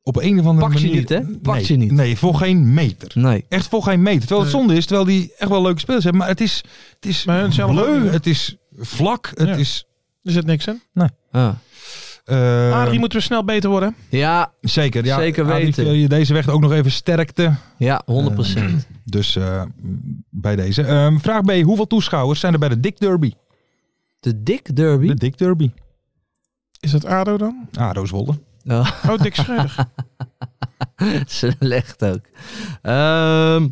op een of andere
Pak ze
manier...
niet, hè? Pak
nee,
ze niet.
Nee, voor geen meter.
Nee.
Echt voor geen meter. Terwijl het
Nee.
zonde is, terwijl die echt wel leuke spelers hebben. Maar het is, het is
Maar hun zelf ook
bleu,
niet.
het is vlak, het
Ja.
is...
Er zit niks in.
Ah.
eh,
Adrie moeten we snel beter worden.
Ja,
Zeker, ja.
Zeker
Adrie,
weten.
wil je deze weg ook nog even sterkte.
ja, 100%.
Dus eh, bij deze. Ehm, vraag B, hoeveel toeschouwers zijn er bij de Dick Derby?
de Dick Derby.
De Dick Derby.
Is dat ADO dan?
Ah, Rooswolde.
Oh,
Oh, Dick Schreuder.
slecht ook. Ehm,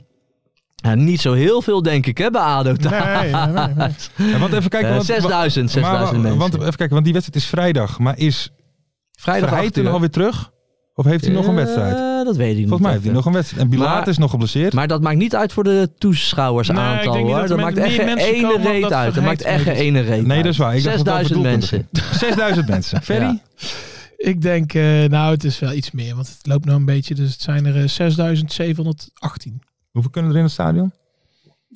ja, niet zo heel veel, denk ik, hè, bij ADO.
Nee, nee, nee, nee.
Ja, want even kijken,
Eh,
want,
6000,
wa- maar-
6000 mensen.
want, even kijken, want die wedstrijd is vrijdag. Maar is
Vrijdag
Verheid
acht uur.
toen alweer terug? Of heeft hij nog een wedstrijd?
Eh, dat weet ik
Volgens
niet.
mij heeft hij
even.
nog een wedstrijd. En Bilaat
Maar-
is nog geblesseerd.
Maar dat maakt niet uit voor de
Nee, ik
toeschouwersaantal,
denk
hoor.
niet dat
Dat,
er met
maakt echt
meer
geen
mensen
ene
komen dan
reet
dat
uit. Dat maakt echt geen
vergeten
ene reet
nee,
uit.
dat is waar. Ik dacht dat het over
6000
doelpunten
mensen.
*laughs* 6000 mensen. Ferry?
Ja.
Ik denk, eh, nou, het is wel iets meer, want het loopt nou een beetje. Dus het zijn er eh, 6718.
Hoeveel kunnen er in het stadion?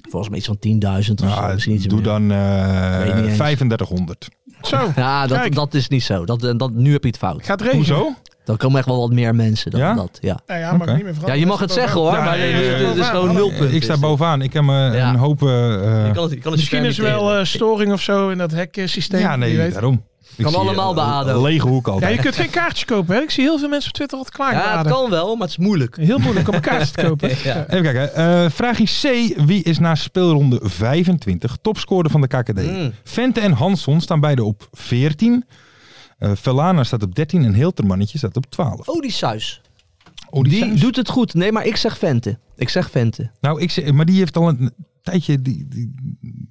Volgens mij iets van 10.000 of zo.
Ah,
Misschien iets
doe
meer.
dan eh,
weet niet eens.
3500.
Zo,
Ja, dat,
Kijk.
dat is niet zo. Dat, eh, dat, nu heb je het fout.
gaat regenen.
Hoezo?
Dan komen echt wel wat meer mensen dan
Ja?
dat. Ja,
Nou ja, mag
Oké.
ik niet meer
ja
veranderen.
je mag het zeggen hoor,
Ja,
maar
nee,
dit dit- dit
eh,
is gewoon nul punt.
Ik sta bovenaan. Ik heb me
Ja.
een hoop... eh,
Je kan het- je kan het
Misschien is er wel eh, storing of zo in dat heksysteem.
ja, nee,
wie weet.
daarom. Ik
Kan
zie, eh,
allemaal bij ADO.
Een lege hoek
Ja, je
altijd.
kunt geen kaartjes kopen. Hè? Ik zie heel veel mensen op Twitter altijd klaar.
Ja, het kan wel, maar het is moeilijk.
Heel moeilijk om kaartjes te kopen.
*laughs* Ja.
Even kijken. eh vraagje C. Wie is na speelronde 25 topscorer van de KKD?
Mm.
Vente en Hansson staan beide op 14. Eh Velana staat op 13 en Hiltermannetje staat op 12.
Oh, die Suis.
Oh,
Die,
Suijs.
doet het goed. Nee, maar ik zeg Vente. Ik zeg Vente.
Nou, ik zeg, maar die heeft al een tijdje die, die,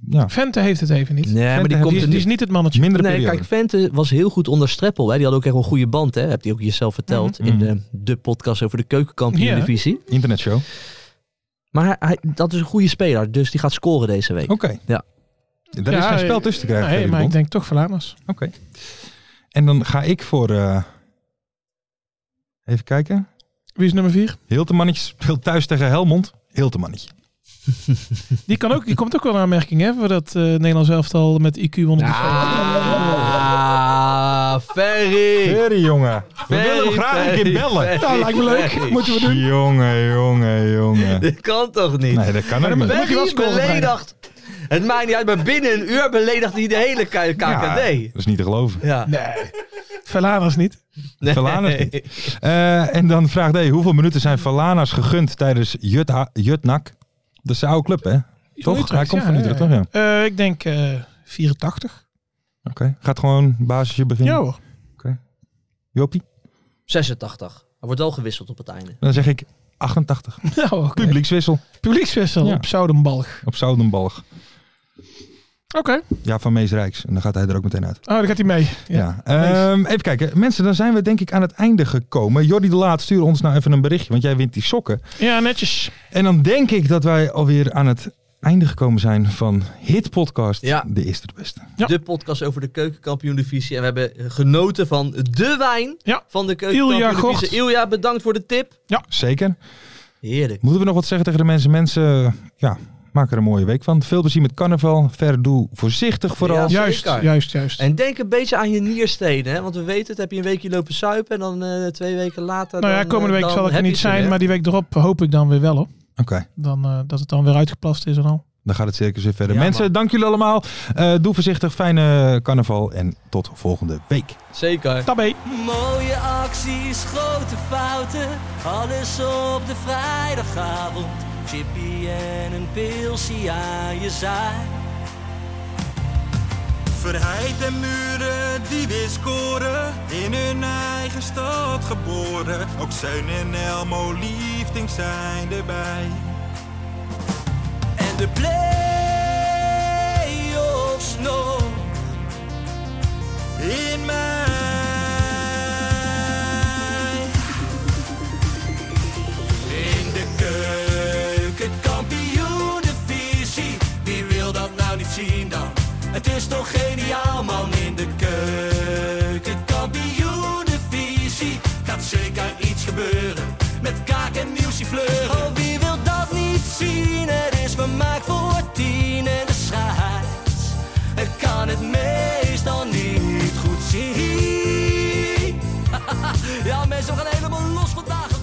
ja,
Vente heeft het even niet.
Nee, maar
Vente
die
heeft-
komt
Die, is,
er
die is
niet.
niet het mannetje.
mindere
Nee,
periode.
kijk, Vente was heel goed onder Streppel. Hè. Die had ook echt wel een goede band. Hè. Heb je ook jezelf verteld
Mhm.
in de, de podcast over de keukenkampioen-divisie.
Internetshow. Oké.
Maar hij, hij- dat is een goede speler, dus die gaat scoren deze week. Ja.
Daar is
Ja,
geen
eh,
spel tussen te krijgen.
Nee,
Ferry
maar
de Bond.
ik denk toch Vlaanders.
Oké. En dan ga ik voor... eh, even kijken.
Wie is nummer 4?
Hiltermannetje speelt thuis tegen Helmond. Hiltermannetje.
Die, kan ook, die komt ook wel een aanmerking hè, voor dat eh Nederlands elftal met IQ 100.
Ah, Ferry.
Ferry, jongen. We willen hem
Ferry,
graag een keer
Ferry,
bellen.
Ferry, Nou, lijkt me leuk. Ferry.
Moeten we doen. Jongen, jongen, jongen.
Dit kan toch niet?
Nee, dat kan ook niet.
moet je wel
Ferry
scoren
beledigt. Het maakt niet uit, maar binnen een uur beledigt hij de hele K-
Ja,
KKD.
dat is niet te geloven.
Ja.
Nee, Verladers niet.
Nee. *laughs*
Verlaners niet. Eh, en dan vraagt D. Hoeveel minuten zijn Valana's gegund tijdens Jutta- Jutnak? Dat is de oude club, hè? Toch?
Utrecht,
Hij komt
ja,
van Utrecht,
ja.
toch? Ja.
Eh, ik denk eh, 84.
Oké. Gaat gewoon basisje beginnen.
Ja hoor.
Jopie.
86. Er wordt wel gewisseld op het einde.
Dan zeg ik 88.
*laughs* Nou, oké.
Publiekswissel
Publiekswissel
Ja.
op Zoudenbalg.
op Zoudenbalg.
Oké.
Ja, van Mees Rijks. En dan gaat hij er ook meteen uit.
Oh, daar gaat hij mee. Ja.
Ja. Ehm, even kijken. Mensen, dan zijn we denk ik aan het einde gekomen. Jordi de Laat, stuur ons nou even een berichtje. Want jij wint die sokken.
ja, netjes.
En dan denk ik dat wij alweer aan het einde gekomen zijn van Hit Podcast.
Ja.
De eerste de beste.
Ja.
De podcast over de keukenkampioen-divisie. En we hebben genoten van de wijn
Ja.
van de keukenkampioen-divisie. Ilja, bedankt voor de tip.
Zeker.
Heerlijk.
Moeten we nog wat zeggen tegen de mensen? Mensen, ja, maak er een mooie week van. Veel plezier met carnaval. Verder doe voorzichtig vooral.
Ja.
Juist,
Zeker.
juist, juist.
En denk een beetje aan je nierstenen, hè? want we weten het, heb je een weekje lopen suipen en dan eh, twee weken later...
nou ja,
dan,
komende
eh,
week
dan
zal ik er
heb je
niet
ze
zijn,
weer.
maar die week erop hoop ik dan weer wel op.
Oké,
Dan, eh, dat het dan weer uitgeplast is en al.
dan gaat het circus weer verder.
Ja,
mensen,
man.
dank jullie allemaal. Eh, doe voorzichtig. Fijne carnaval en tot volgende week.
Zeker.
Tabé.
Mooie acties, grote fouten, alles op de vrijdagavond. Chippy en een pilsie aan je zaai.
Verheid en muren die weer scoren, in hun eigen stad geboren. Ook Zeun en Elmo liefding zijn erbij.
En de play-offs nog.
In mij.
In de keuken, kampioen Wie wil dat nou niet zien dan? Het is toch geniaal man in de keuken, kampioen Gaat zeker iets gebeuren met kaak en nieuwsje fleuren. Oh, wie wil dat niet zien? Het is vermaakt voor tien en de scheids. Ik kan het meestal *laughs* niet goed zien. Ja, mensen, we gaan helemaal los vandaag.